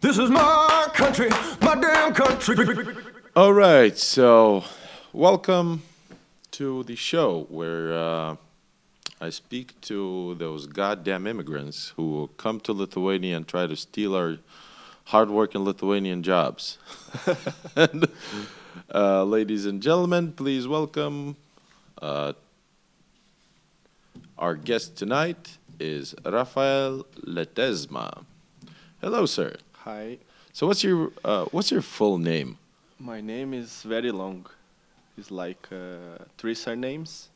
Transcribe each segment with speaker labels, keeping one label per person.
Speaker 1: This is my country, my damn country.
Speaker 2: All right, so welcome to the show where uh, I speak to those goddamn immigrants who come to Lithuania and try to steal our hardworking Lithuanian jobs. and, uh, ladies and gentlemen, please welcome uh, our guest tonight is Rafael Letesma. Hello, sir.
Speaker 3: Hi,
Speaker 2: So, what's your uh, what's your full name?
Speaker 3: my name is very long. It's like uh, three surnames,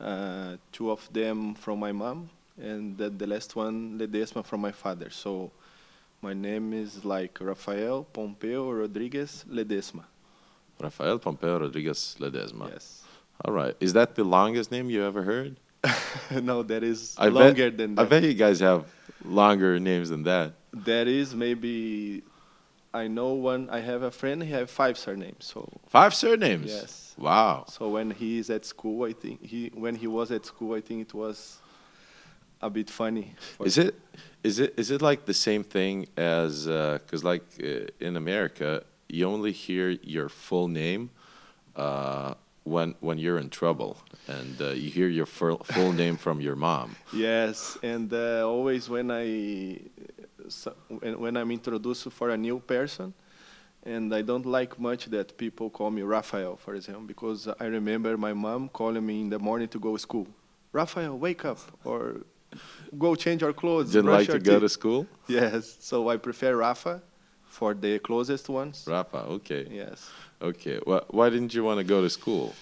Speaker 3: uh, two of them from my mom, and the, the last one, Ledesma, from my father. So my name is like Rafael Pompeo Rodriguez Ledesma.
Speaker 2: Rafael Pompeo Rodriguez Ledesma.
Speaker 3: Yes.
Speaker 2: All right. Is that the longest name you ever heard?
Speaker 3: no, that is
Speaker 2: I bet-
Speaker 3: longer than that.
Speaker 2: I bet you guys have longer names than that.
Speaker 3: That is maybe. I know one. I have a friend. He have five surnames. So
Speaker 2: Five surnames.
Speaker 3: Yes.
Speaker 2: Wow.
Speaker 3: So when he is at school, I think he when he was at school, I think it was a bit funny. for-
Speaker 2: Is it is it is it like the same thing as because like uh, in America you only hear your full name uh, when when you're in trouble and uh, you hear your full, full name from your mom.
Speaker 3: Yes, and uh, always when I so, when, when I'm introduced for a new person, and I don't like much that people call me Rafael, for example, because I remember my mom calling me in the morning to go to school. Rafael, wake up or go change your clothes.
Speaker 2: Didn't
Speaker 3: brush
Speaker 2: like
Speaker 3: your
Speaker 2: to go to
Speaker 3: teeth."
Speaker 2: school.
Speaker 3: Yes, so I prefer Rafa for the closest ones.
Speaker 2: Rafa. Okay.
Speaker 3: Yes.
Speaker 2: Okay. Why, why didn't you want to go to school?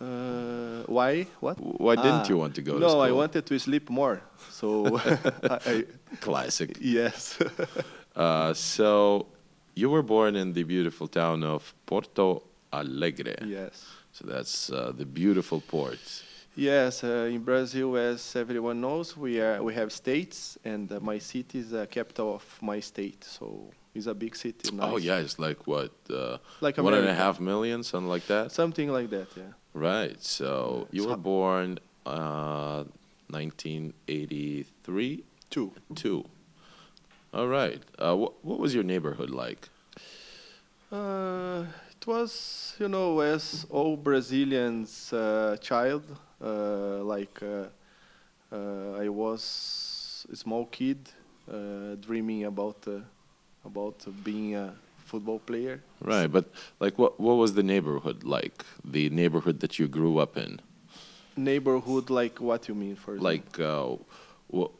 Speaker 3: Uh, why? What?
Speaker 2: Why didn't you want to go
Speaker 3: no,
Speaker 2: to school?
Speaker 3: No, I wanted to sleep more. So, I, I,
Speaker 2: Classic.
Speaker 3: yes.
Speaker 2: Uh, so you were born in the beautiful town of Porto Alegre.
Speaker 3: yes.
Speaker 2: So that's uh, the beautiful port.
Speaker 3: Yes, uh, in Brazil, as everyone knows, we are we have states, and uh, my city is the capital of my state. So it's a big city. Nice.
Speaker 2: Oh yeah, it's like what? Uh,
Speaker 3: Like
Speaker 2: one and a
Speaker 3: America.
Speaker 2: half million, something like that.
Speaker 3: Something like that. Yeah.
Speaker 2: Right. So you
Speaker 3: So-
Speaker 2: were born uh, 1983.
Speaker 3: Two.
Speaker 2: Two. All right. Uh, wh- what was your neighborhood like?
Speaker 3: Uh, it was, you know, as all Brazilians' uh, child, uh, like uh, uh, I was a small kid uh, dreaming about uh, about being a football player.
Speaker 2: Right, but like, what what was the neighborhood like? The neighborhood that you grew up in.
Speaker 3: Neighborhood, like what you mean for example?
Speaker 2: like uh, wh-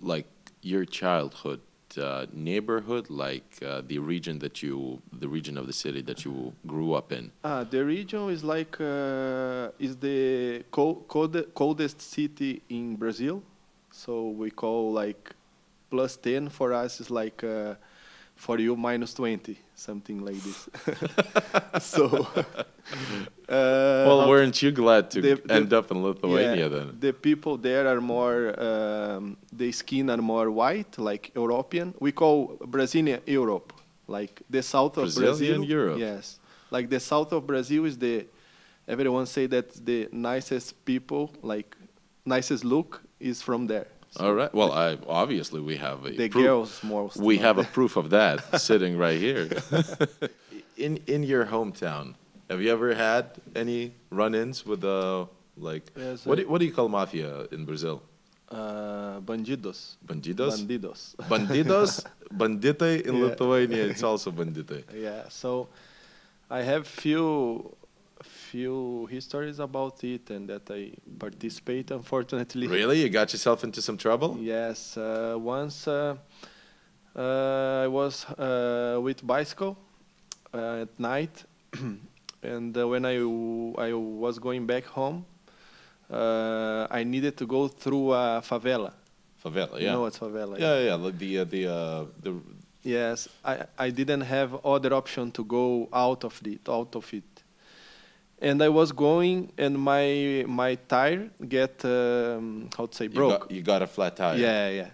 Speaker 2: like your childhood uh, neighborhood, like uh, the region that you, the region of the city that you grew up in.
Speaker 3: Ah, the region is like uh, is the co- colde- coldest city in Brazil, so we call like plus ten for us is like uh, for you minus twenty something like this. so, uh,
Speaker 2: well,
Speaker 3: how-
Speaker 2: weren't you glad to
Speaker 3: the-
Speaker 2: g-
Speaker 3: the-
Speaker 2: end up in
Speaker 3: yeah,
Speaker 2: Lithuania then?
Speaker 3: The people there are more um, the skin are more white, like European. We call Brazilian Europe, like the south of
Speaker 2: Brazilian
Speaker 3: Brazil.
Speaker 2: Europe.
Speaker 3: Yes, like the south of Brazil is the everyone say that the nicest people, like nicest look is from there.
Speaker 2: All right. Well, I obviously we have a
Speaker 3: The
Speaker 2: proof-
Speaker 3: girls most.
Speaker 2: We
Speaker 3: like
Speaker 2: have a
Speaker 3: that.
Speaker 2: proof of that sitting right here. in in your hometown, have you ever had any run-ins with the like?
Speaker 3: Yes,
Speaker 2: what
Speaker 3: I-
Speaker 2: do, what do you call mafia in Brazil?
Speaker 3: uh, bandidos.
Speaker 2: Bandidos.
Speaker 3: Bandidos.
Speaker 2: Bandidos, banditai in
Speaker 3: Yeah.
Speaker 2: Lithuania, it's also banditai.
Speaker 3: Yeah, so I have few few histories about it and that I participate unfortunately.
Speaker 2: Really? You got yourself into some trouble?
Speaker 3: Yes, uh, once uh, uh, I was uh, with bicycle uh, at night and uh, when I w- I was going back home uh, I needed to go through a favela.
Speaker 2: Favela, yeah.
Speaker 3: You know what's favela?
Speaker 2: yeah, yeah, yeah, like the uh, the uh, the
Speaker 3: Yes, I, I didn't have other option to go out of it, out of it. And I was going, and my my tire get um, how to say
Speaker 2: you got-
Speaker 3: broke.
Speaker 2: You got a flat tire.
Speaker 3: yeah, yeah.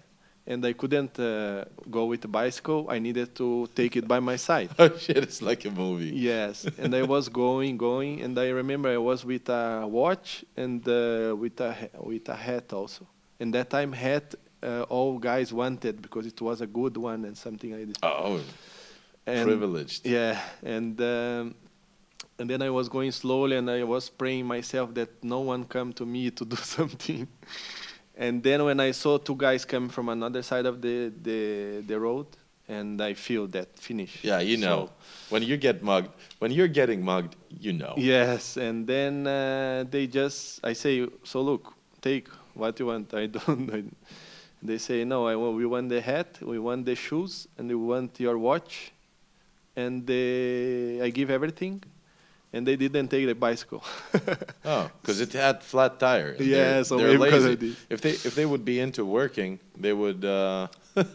Speaker 3: And I couldn't uh, go with the bicycle. I needed to take it by my side.
Speaker 2: Oh shit! It's like a movie.
Speaker 3: yes, and I was going, going, and I remember I was with a watch and uh, with a ha- with a hat also. And that time hat uh, uh, all guys wanted because it was a good one and something like this.
Speaker 2: Oh,
Speaker 3: And-
Speaker 2: privileged.
Speaker 3: Yeah, and um, and then I was going slowly, and I was praying myself that no one come to me to do something. And then when I saw two guys come from another side of the the, the road, and I feel that finish.
Speaker 2: Yeah, you
Speaker 3: So-
Speaker 2: know. when you get mugged, when you're getting mugged, you know.
Speaker 3: Yes, and then uh, they just I say, so look, take what you want. I don't. I, they say no. I want, we want the hat, we want the shoes, and we want your watch, and they, I give everything, and they didn't take the bicycle.
Speaker 2: Oh, because it had flat tire. and
Speaker 3: Yeah,
Speaker 2: they're-
Speaker 3: so
Speaker 2: they're
Speaker 3: maybe 'cause
Speaker 2: lazy.
Speaker 3: I did.
Speaker 2: If they if they would be into working, they would. Uh,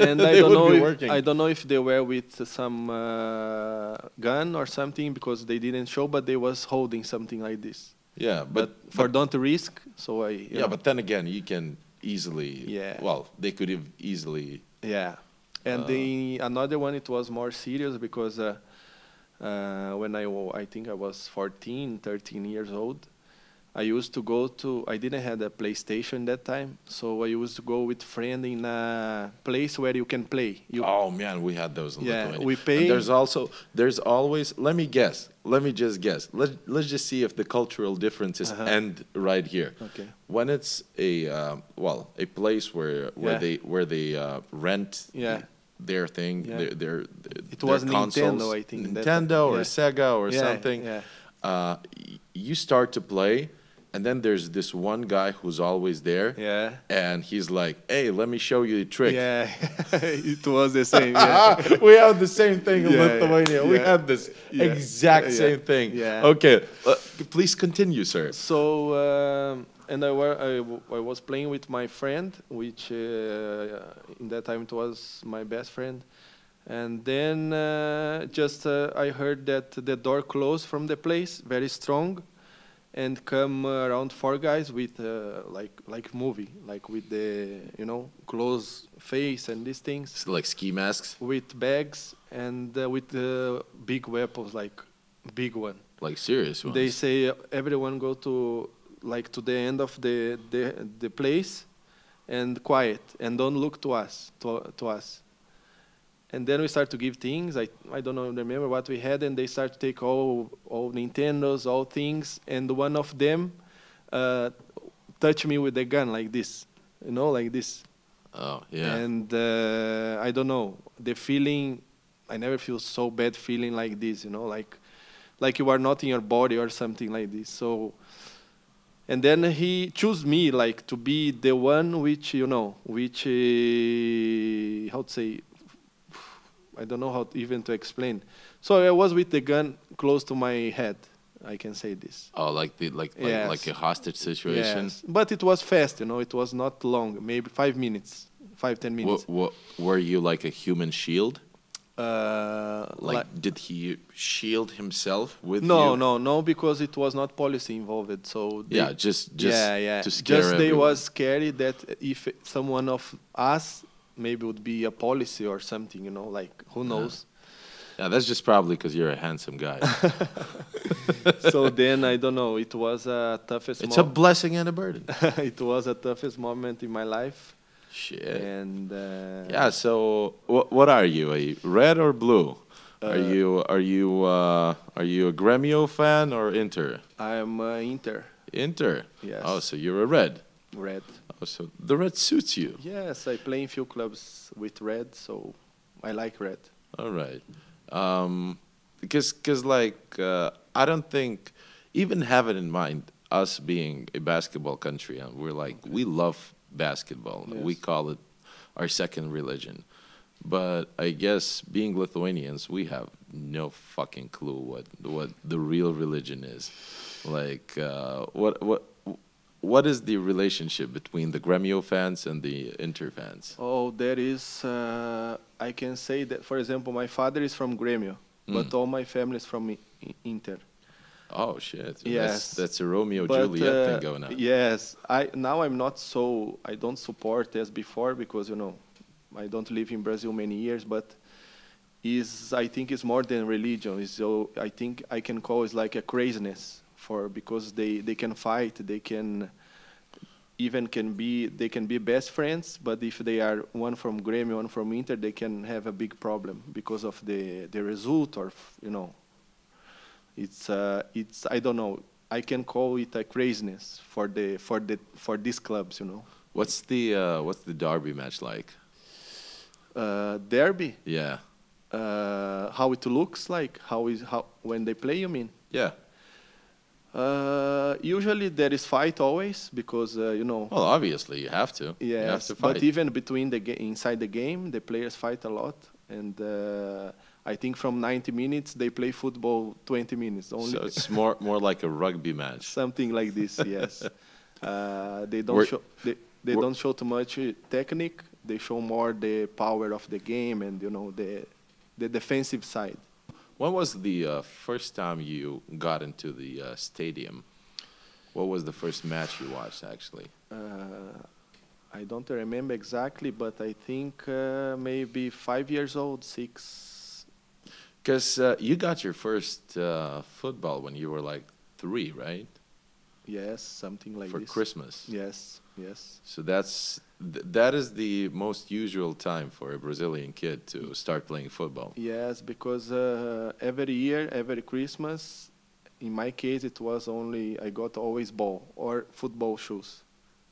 Speaker 3: and I
Speaker 2: they
Speaker 3: don't
Speaker 2: would
Speaker 3: know.
Speaker 2: be
Speaker 3: If,
Speaker 2: working.
Speaker 3: I don't know if they were with some uh, gun or something because they didn't show, but they was holding something like this.
Speaker 2: Yeah, but,
Speaker 3: But, for don't risk, so I. you
Speaker 2: yeah,
Speaker 3: know.
Speaker 2: but then again, you can easily.
Speaker 3: Yeah.
Speaker 2: Well, they could have easily.
Speaker 3: Yeah, and
Speaker 2: Uh,
Speaker 3: the another one it was more serious because uh, uh, when I wa- I think I was 14, 13 years old, I used to go to I didn't have a PlayStation that time, so I used to go with friend in a place where you can play. You,
Speaker 2: oh man, we had those. In
Speaker 3: Yeah,
Speaker 2: Lithuania.
Speaker 3: we
Speaker 2: And
Speaker 3: pay-
Speaker 2: there's also there's always. Let me guess. Let me just guess. Let Let's just see if the cultural differences
Speaker 3: Uh-huh.
Speaker 2: end right here.
Speaker 3: Okay.
Speaker 2: When it's a uh, well a place where where
Speaker 3: Yeah.
Speaker 2: they where they uh, rent.
Speaker 3: Yeah.
Speaker 2: Their thing,
Speaker 3: Yeah.
Speaker 2: their, their
Speaker 3: It
Speaker 2: their
Speaker 3: was Nintendo,
Speaker 2: consoles,
Speaker 3: I think, that-
Speaker 2: Nintendo or
Speaker 3: yeah.
Speaker 2: Sega or
Speaker 3: Yeah,
Speaker 2: something.
Speaker 3: yeah.
Speaker 2: Uh, y- you start to play, and then there's this one guy who's always there.
Speaker 3: Yeah.
Speaker 2: And he's like, "Hey, let me show you a trick."
Speaker 3: yeah, it was the same. Yeah.
Speaker 2: we have the same thing in
Speaker 3: Yeah,
Speaker 2: Lithuania. We
Speaker 3: yeah.
Speaker 2: had this
Speaker 3: Yeah.
Speaker 2: exact
Speaker 3: Yeah.
Speaker 2: same thing.
Speaker 3: Yeah.
Speaker 2: Okay, uh, please continue, sir.
Speaker 3: So um, and I, were, I, w- I was playing with my friend, which uh, in that time it was my best friend, and then uh, just uh, I heard that the door closed from the place very strong, and come uh, around four guys with uh, like like movie like with the you know close face and these things
Speaker 2: It's like ski masks,
Speaker 3: with bags and uh, with uh, big weapons like big one.
Speaker 2: like serious ones.
Speaker 3: They say uh, everyone go to like to the end of the the, the place and quiet and don't look to us to, to us. And then we start to give things. I, I don't know remember what we had, and they start to take all all Nintendos, all things, and one of them uh, touch me with the gun like this, you know, like this.
Speaker 2: oh yeah.
Speaker 3: And uh, I don't know the feeling. I never feel so bad feeling like this, you know, like like you are not in your body or something like this. So, and then he chose me like to be the one which you know, which uh, how to say, I don't know how to, even to explain. So I was with the gun close to my head. I can say this.
Speaker 2: oh, like the like like,
Speaker 3: Yes.
Speaker 2: like a hostage situation.
Speaker 3: Yes. But it was fast, you know. It was not long, maybe five minutes, five ten minutes.
Speaker 2: What, what, were you like a human shield?
Speaker 3: Uh,
Speaker 2: Like,
Speaker 3: like
Speaker 2: did he shield himself with
Speaker 3: no
Speaker 2: you?
Speaker 3: no no because it was not policy involved so they,
Speaker 2: Yeah, just just
Speaker 3: yeah yeah
Speaker 2: to scare
Speaker 3: just they
Speaker 2: everyone.
Speaker 3: was scared that if someone of us maybe would be a policy or something you know like who knows
Speaker 2: Yeah, that's just probably because you're a handsome guy.
Speaker 3: so then i don't know it was a toughest
Speaker 2: it's a
Speaker 3: mo-
Speaker 2: blessing and a burden.
Speaker 3: it was a toughest moment in my life
Speaker 2: Shit.
Speaker 3: and uh,
Speaker 2: Yeah. So, wh- what are you? Are you red or blue? are you are you uh, are you a Gremio fan or Inter?
Speaker 3: i'm uh, inter
Speaker 2: Inter.
Speaker 3: Yes.
Speaker 2: Oh, so you're a red.
Speaker 3: red
Speaker 2: Oh, so the red suits you.
Speaker 3: yes i play in few clubs with red so i like red
Speaker 2: All right. Um, because, cause like, uh, I don't think, even have it in mind, us being a basketball country, and we're like, we love basketball. We
Speaker 3: Yes.
Speaker 2: call it our second religion. But I guess being Lithuanians, we have no fucking clue what, what the real religion is. Like, uh, what, what, what is the relationship between the Gremio fans and the Inter fans?
Speaker 3: Oh, there is. Uh, I can say that, for example, my father is from Grêmio, but all my family is from I- I- Inter.
Speaker 2: Oh shit!
Speaker 3: Yes.
Speaker 2: that's, that's a Romeo
Speaker 3: But,
Speaker 2: Juliet
Speaker 3: uh,
Speaker 2: thing going on.
Speaker 3: Yes, I now I'm not so. I don't support as before because you know, I don't live in Brazil many years, but is I think it's more than religion. Is so I think I can call it like a craziness for because they they can fight, they can even can be they can be best friends, but if they are one from Grêmio, one from Inter, they can have a big problem because of the the result or f- you know. It's uh, it's I don't know. I can call it a craziness for the for the for these clubs, you know.
Speaker 2: What's the uh, what's the derby match like?
Speaker 3: Uh, derby,
Speaker 2: Yeah,
Speaker 3: uh, how it looks like, how is how when they play. You mean?
Speaker 2: yeah.
Speaker 3: Uh, usually there is fight always because uh, you know.
Speaker 2: Well, obviously you have to. Oh, you have
Speaker 3: Yes,
Speaker 2: to fight.
Speaker 3: but even between the ga- inside the game, the players fight a lot, and uh, I think from 90 minutes they play football 20 minutes only,
Speaker 2: so it's more more like a rugby match.
Speaker 3: something like this. Yes, uh, they don't
Speaker 2: We're-
Speaker 3: show they, they
Speaker 2: we're-
Speaker 3: don't show too much uh, technique. They show more the power of the game and you know the the defensive side.
Speaker 2: When was the uh, first time you got into the uh, stadium? What was the first match you watched actually?
Speaker 3: Uh, I don't remember exactly, but I think uh, maybe five years old, six.
Speaker 2: Because uh, you got your first uh, football when you were like three, right?
Speaker 3: Yes, something like
Speaker 2: For
Speaker 3: this.
Speaker 2: Christmas.
Speaker 3: Yes, yes.
Speaker 2: So that's th- that is the most usual time for a Brazilian kid to start playing football.
Speaker 3: Yes, because uh, every year, every Christmas, in my case, it was only I got always ball or football shoes.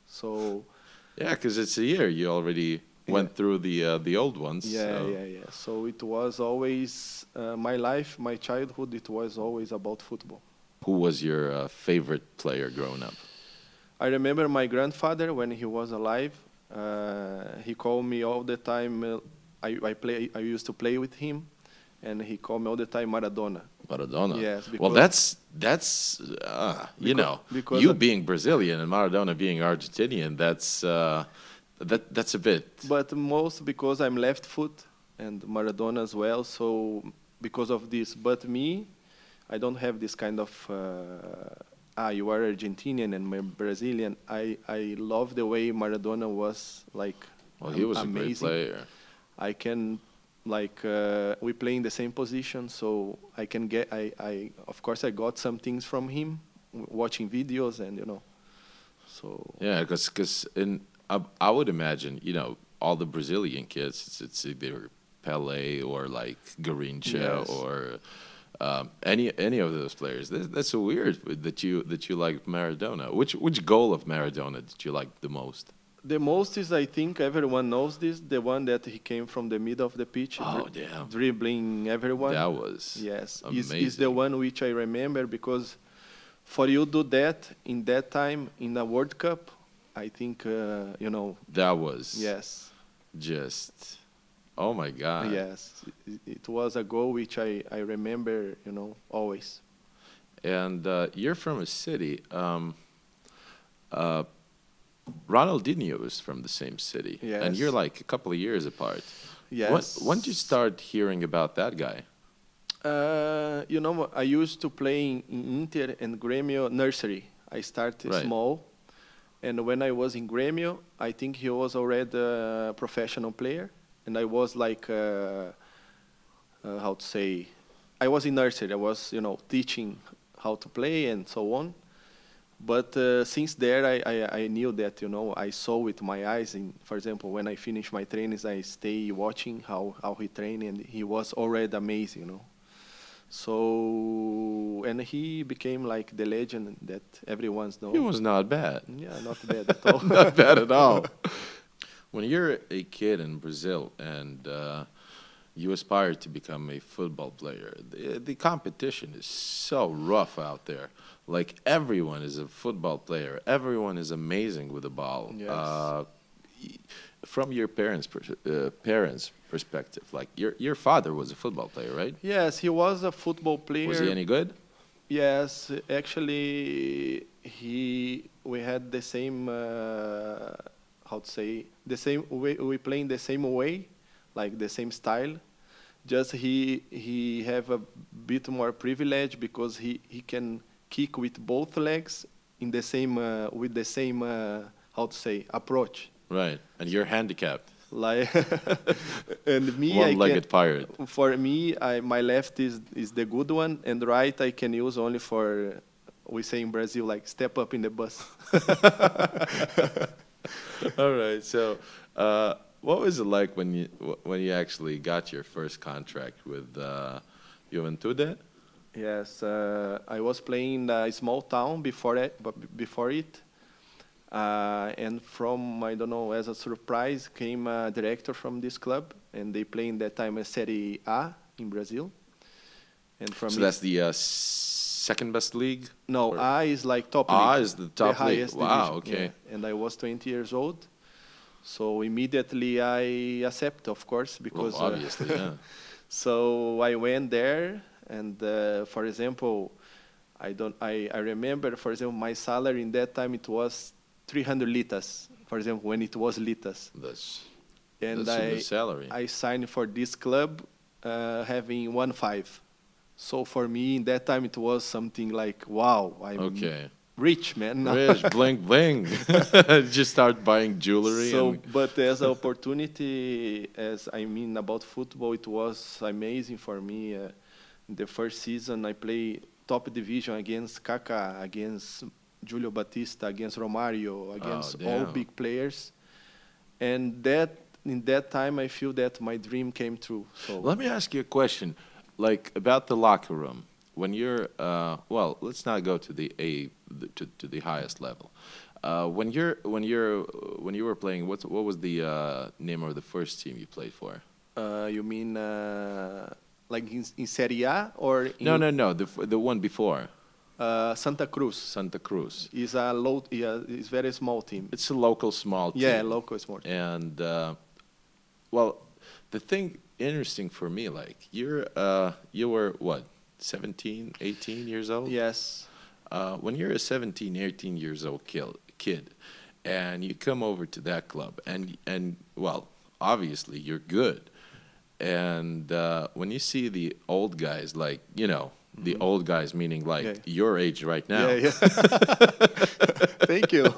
Speaker 3: So
Speaker 2: Yeah, because it's a year you already went through the uh, the old ones.
Speaker 3: yeah,
Speaker 2: so-
Speaker 3: yeah, yeah. So it was always uh, my life, my childhood. It was always about football.
Speaker 2: Who was your uh, favorite player growing up?
Speaker 3: I remember my grandfather when he was alive. Uh, he called me all the time. Uh, I, I play. I used to play with him, and he called me all the time Maradona.
Speaker 2: Maradona.
Speaker 3: Yes,
Speaker 2: well,
Speaker 3: because-
Speaker 2: that's that's uh, you
Speaker 3: Becau-
Speaker 2: know
Speaker 3: because
Speaker 2: you
Speaker 3: I-
Speaker 2: being Brazilian and Maradona being Argentinian. That's uh, that that's a bit.
Speaker 3: But most because I'm left foot and Maradona as well. So because of this, but me, I don't have this kind of uh, ah, you are Argentinian and I'm Brazilian. I I love the way Maradona was like.
Speaker 2: Well, he was
Speaker 3: amazing.
Speaker 2: a great player.
Speaker 3: I can like uh, we play in the same position, so I can get. I I of course I got some things from him, w- watching videos and you know, so.
Speaker 2: Yeah, because in I, I would imagine you know all the Brazilian kids, it's, it's either Pele or like Garincha
Speaker 3: Yes.
Speaker 2: or um, any any of those players. That, that's so weird that you that you like Maradona. Which which goal of Maradona did you like the most?
Speaker 3: The most is, I think, everyone knows this. The one that he came from the middle of the pitch,
Speaker 2: Oh, damn.
Speaker 3: dribbling everyone.
Speaker 2: That was
Speaker 3: yes, is
Speaker 2: amazing.
Speaker 3: is the one which I remember because for you do that in that time in a World Cup, I think uh, you know.
Speaker 2: That was
Speaker 3: Yes,
Speaker 2: just oh my god.
Speaker 3: yes, it, it was a goal which I I remember, you know, always.
Speaker 2: And uh, you're from a city. Um, uh, Ronaldinho is from the same city, and you're
Speaker 3: Yes.
Speaker 2: like a couple of years apart.
Speaker 3: Yes.
Speaker 2: When, when did you start hearing about that guy?
Speaker 3: Uh, you know, I used to play in, in Inter and Grêmio nursery. I started
Speaker 2: Right.
Speaker 3: small, and when I was in Grêmio, I think he was already a professional player, and I was like, uh, uh, how to say, I was in nursery. I was, you know, teaching how to play and so on. But uh, since there, I, I, I knew that, you know, I saw with my eyes. In, for example, when I finish my trainings, I stay watching how, how he trained, and he was already amazing, you know. So, and he became like the legend that everyone knows.
Speaker 2: He was not bad.
Speaker 3: Yeah, not bad at all.
Speaker 2: not bad at all. When you're a kid in Brazil and uh, you aspire to become a football player, the, the competition is so rough out there. Like everyone is a football player. Everyone is amazing with the ball.
Speaker 3: Yes.
Speaker 2: Uh, y- from your parents' pers- uh, parents' perspective, like your your father was a football player, right?
Speaker 3: yes, he was a football player.
Speaker 2: Was he any good?
Speaker 3: Yes, actually, he we had the same uh, how to say the same way we playing the same way, like the same style. Just he he have a bit more privilege because he he can kick with both legs in the same uh, with the same uh, how to say approach.
Speaker 2: Right. And you're handicapped,
Speaker 3: Like and me, I
Speaker 2: one-legged
Speaker 3: can,
Speaker 2: pirate.
Speaker 3: for me, I, my left is, is the good one, and right I can use only for we say in Brazil, like step up in the bus.
Speaker 2: All right. So, uh, what was it like when you wh- when you actually got your first contract with uh, Juventude?
Speaker 3: Yes, uh, I was playing in a small town before it, b- before it, uh, and from I don't know as a surprise came a director from this club, and they playing that time a Serie A in Brazil, and from
Speaker 2: so
Speaker 3: it-
Speaker 2: that's the uh, second best league.
Speaker 3: no
Speaker 2: or-
Speaker 3: A is like top.
Speaker 2: Ah,
Speaker 3: league,
Speaker 2: is the top league.
Speaker 3: highest
Speaker 2: Wow,
Speaker 3: division,
Speaker 2: okay.
Speaker 3: yeah. And I was 20 years old, so immediately I accept, of course, because
Speaker 2: well,
Speaker 3: uh,
Speaker 2: obviously, yeah.
Speaker 3: So I went there, and uh, for example, I don't. I, I remember, for example, my salary in that time it was 300 litas. For example, when it was litas,
Speaker 2: That's
Speaker 3: and
Speaker 2: That's a good
Speaker 3: I
Speaker 2: salary.
Speaker 3: I signed for this club, uh, having one five. So for me, in that time, it was something like, wow, I'm
Speaker 2: okay.
Speaker 3: rich, man.
Speaker 2: Rich, bling, bling. Just start buying jewelry.
Speaker 3: So,
Speaker 2: and,
Speaker 3: but as an opportunity, as I mean about football, it was amazing for me. Uh, the first season, I played top division against Kaká, against Julio Batista, against Romario, against all
Speaker 2: Oh, damn.
Speaker 3: big players, and that in that time, I feel that my dream came true. So
Speaker 2: Let me ask you a question, like about the locker room. When you're, uh, well, let's not go to the a the, to, to the highest level. Uh, when you're when you're when you were playing, what what was the uh, name of the first team you played for?
Speaker 3: uh, you mean uh, like in, in Serie A or in
Speaker 2: No, no, no, the f- the one before
Speaker 3: Uh, Santa Cruz?
Speaker 2: Santa Cruz.
Speaker 3: Is a low, yeah, is very small team.
Speaker 2: It's a local small team.
Speaker 3: Yeah, local is more.
Speaker 2: And uh, well, the thing interesting for me, like you're uh, you were what 17, 18 years old.
Speaker 3: Yes.
Speaker 2: uh, when you're a 17, 18 years old kil- kid, and you come over to that club, and and well, obviously you're good, and uh, when you see the old guys, like you know, the old guys, meaning like
Speaker 3: Yeah.
Speaker 2: your age right now.
Speaker 3: Yeah, yeah. Thank you.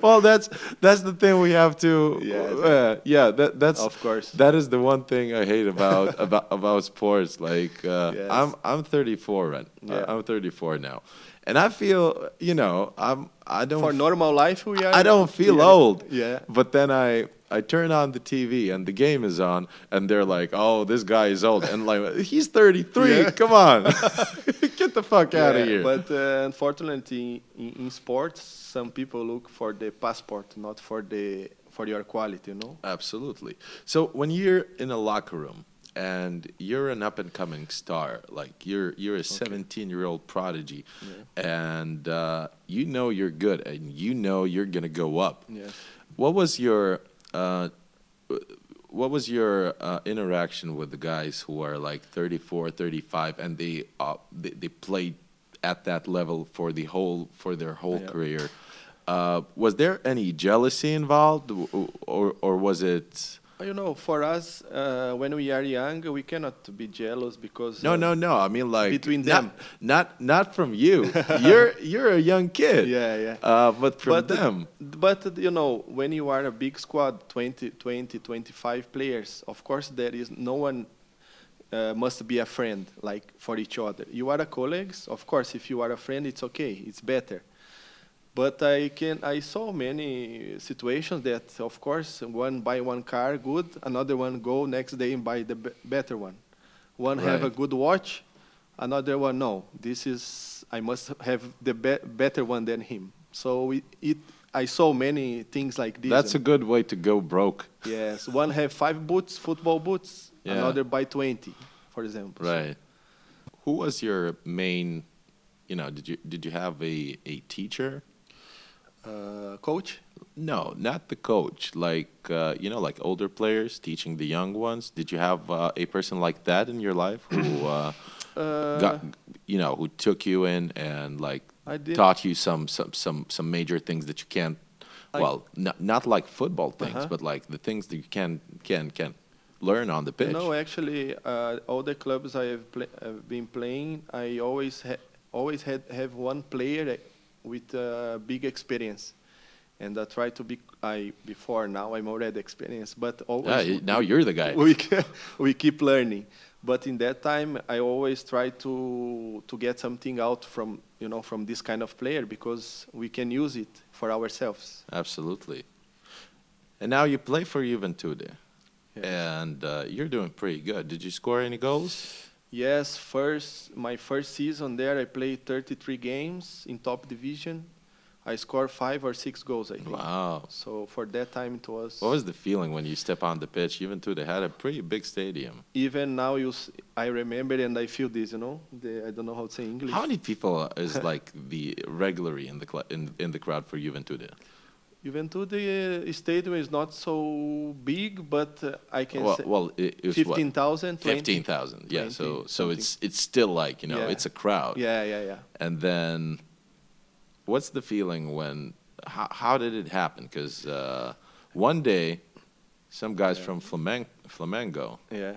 Speaker 2: well, that's that's the thing we have to.
Speaker 3: Yeah,
Speaker 2: Yeah,
Speaker 3: it's-
Speaker 2: yeah. That that's
Speaker 3: Of course.
Speaker 2: That is the one thing I hate about about about sports. Like uh,
Speaker 3: Yes.
Speaker 2: I'm I'm 34 right.
Speaker 3: Yeah.
Speaker 2: I'm 34 now, and I feel you know I'm I don't
Speaker 3: For
Speaker 2: f-
Speaker 3: normal life, we are.
Speaker 2: I don't feel
Speaker 3: we are-
Speaker 2: old.
Speaker 3: Yeah.
Speaker 2: But then I I turn on the TV and the game is on and they're like, "Oh, this guy is old." And like, "He's 33.
Speaker 3: Yeah.
Speaker 2: Come on. Get the fuck out
Speaker 3: Yeah,
Speaker 2: of here."
Speaker 3: But uh, unfortunately, in, in sports, some people look for the passport, not for the for your quality. You know.
Speaker 2: Absolutely. So when you're in a locker room and you're an up and coming star, like you're you're a 17 year old prodigy, and uh, you know you're good and you know you're gonna go up.
Speaker 3: Yes.
Speaker 2: What was your uh, what was your uh, interaction with the guys who are like 34, 35, and they uh, they, they played at that level for the whole for their whole
Speaker 3: Yeah.
Speaker 2: career? Uh, was there any jealousy involved, w- w- or or was it?
Speaker 3: You know, for us, uh, when we are young, we cannot be jealous because.
Speaker 2: No,
Speaker 3: uh,
Speaker 2: no, no. I mean, like
Speaker 3: Between
Speaker 2: not,
Speaker 3: them.
Speaker 2: not not from you. you're you're a young kid.
Speaker 3: Yeah, yeah.
Speaker 2: Uh, but from
Speaker 3: but,
Speaker 2: them.
Speaker 3: But you know, when you are a big squad, 20, 20 25 players, of course there is no one uh, must be a friend like for each other. You are a colleagues, of course. If you are a friend, it's okay, it's better. But I can I saw many situations that, of course, one buy one car good, another one go next day and buy the b- better one. One have a
Speaker 2: Right.
Speaker 3: good watch, another one no. This is I must have the be- better one than him. So it, it I saw many things like this.
Speaker 2: That's a
Speaker 3: and-
Speaker 2: good way to go broke.
Speaker 3: yes. One have five boots, football boots.
Speaker 2: Yeah.
Speaker 3: Another buy twenty, for example.
Speaker 2: Right. Who was your main? You know, did you did you have a a teacher?
Speaker 3: Uh, coach.
Speaker 2: No, not the coach. Like uh, you know, like older players teaching the young ones. Did you have uh, a person like that in your life who uh, got you know who took you in and like
Speaker 3: I did-
Speaker 2: taught you some some some some major things that you can't.
Speaker 3: I-
Speaker 2: well, not not like football things,
Speaker 3: Uh-huh.
Speaker 2: but like the things that you can can can learn on the pitch.
Speaker 3: No, actually, uh, all the clubs I have, pla have been playing, I always ha- always had have one player that- with uh, big experience, and I try to be. I before now I'm already experienced, but always
Speaker 2: yeah, now you're the guy.
Speaker 3: we ke- we keep learning. But in that time, I always try to to get something out from you know from this kind of player because we can use it for ourselves.
Speaker 2: Absolutely. And now you play for Juventude,
Speaker 3: Yes.
Speaker 2: and uh, you're doing pretty good. Did you score any goals?
Speaker 3: Yes, first my first season there, I played 33 games in top division. I scored five or six goals, I think.
Speaker 2: Wow.
Speaker 3: So for that time, it was.
Speaker 2: What was the feeling when you step on the pitch? Juventude had a pretty big stadium.
Speaker 3: even now, you, s- I remember and I feel this, you know. The, I don't know how to say English.
Speaker 2: How many people is like the regularly in the cl- in, in the crowd for Juventude?
Speaker 3: Juventude uh, Stadium is not so big, but uh, I can
Speaker 2: Well,
Speaker 3: say
Speaker 2: well it, it was what?
Speaker 3: 15,000. 20?
Speaker 2: Fifteen thousand, yeah.
Speaker 3: 20,
Speaker 2: So, so
Speaker 3: something.
Speaker 2: it's it's still like you know,
Speaker 3: Yeah.
Speaker 2: it's a crowd.
Speaker 3: Yeah, yeah, yeah.
Speaker 2: And then, what's the feeling when? How, how did it happen? Because uh, one day, some guys from Flamen- Flamengo
Speaker 3: Yeah,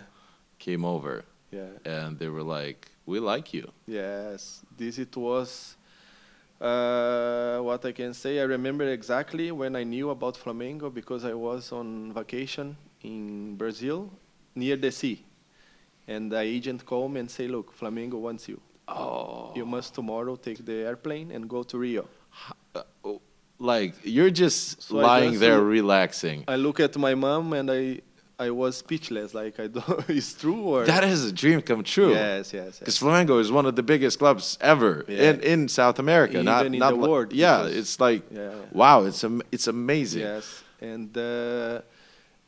Speaker 2: came over,
Speaker 3: yeah.
Speaker 2: and they were like, "We like you."
Speaker 3: Yes, this it was. Uh, what I can say, I remember exactly when I knew about Flamengo because I was on vacation in Brazil, near the sea, and the agent called me and say, "Look, Flamengo wants you.
Speaker 2: Oh,
Speaker 3: You must tomorrow take the airplane and go to Rio."
Speaker 2: like you're just
Speaker 3: So I
Speaker 2: lying
Speaker 3: just
Speaker 2: there
Speaker 3: look-
Speaker 2: relaxing.
Speaker 3: I look at my mom and I, I was speechless. Like I don't, it's true or
Speaker 2: That is a dream come true.
Speaker 3: Yes, yes,
Speaker 2: Because
Speaker 3: yes.
Speaker 2: Flamengo is one of the biggest clubs ever
Speaker 3: Yeah.
Speaker 2: in, in South America,
Speaker 3: Even
Speaker 2: not
Speaker 3: in
Speaker 2: not
Speaker 3: the
Speaker 2: li-
Speaker 3: world,
Speaker 2: Yeah,
Speaker 3: because-
Speaker 2: it's like
Speaker 3: Yeah, yeah.
Speaker 2: wow, it's am- it's amazing.
Speaker 3: Yes, and uh,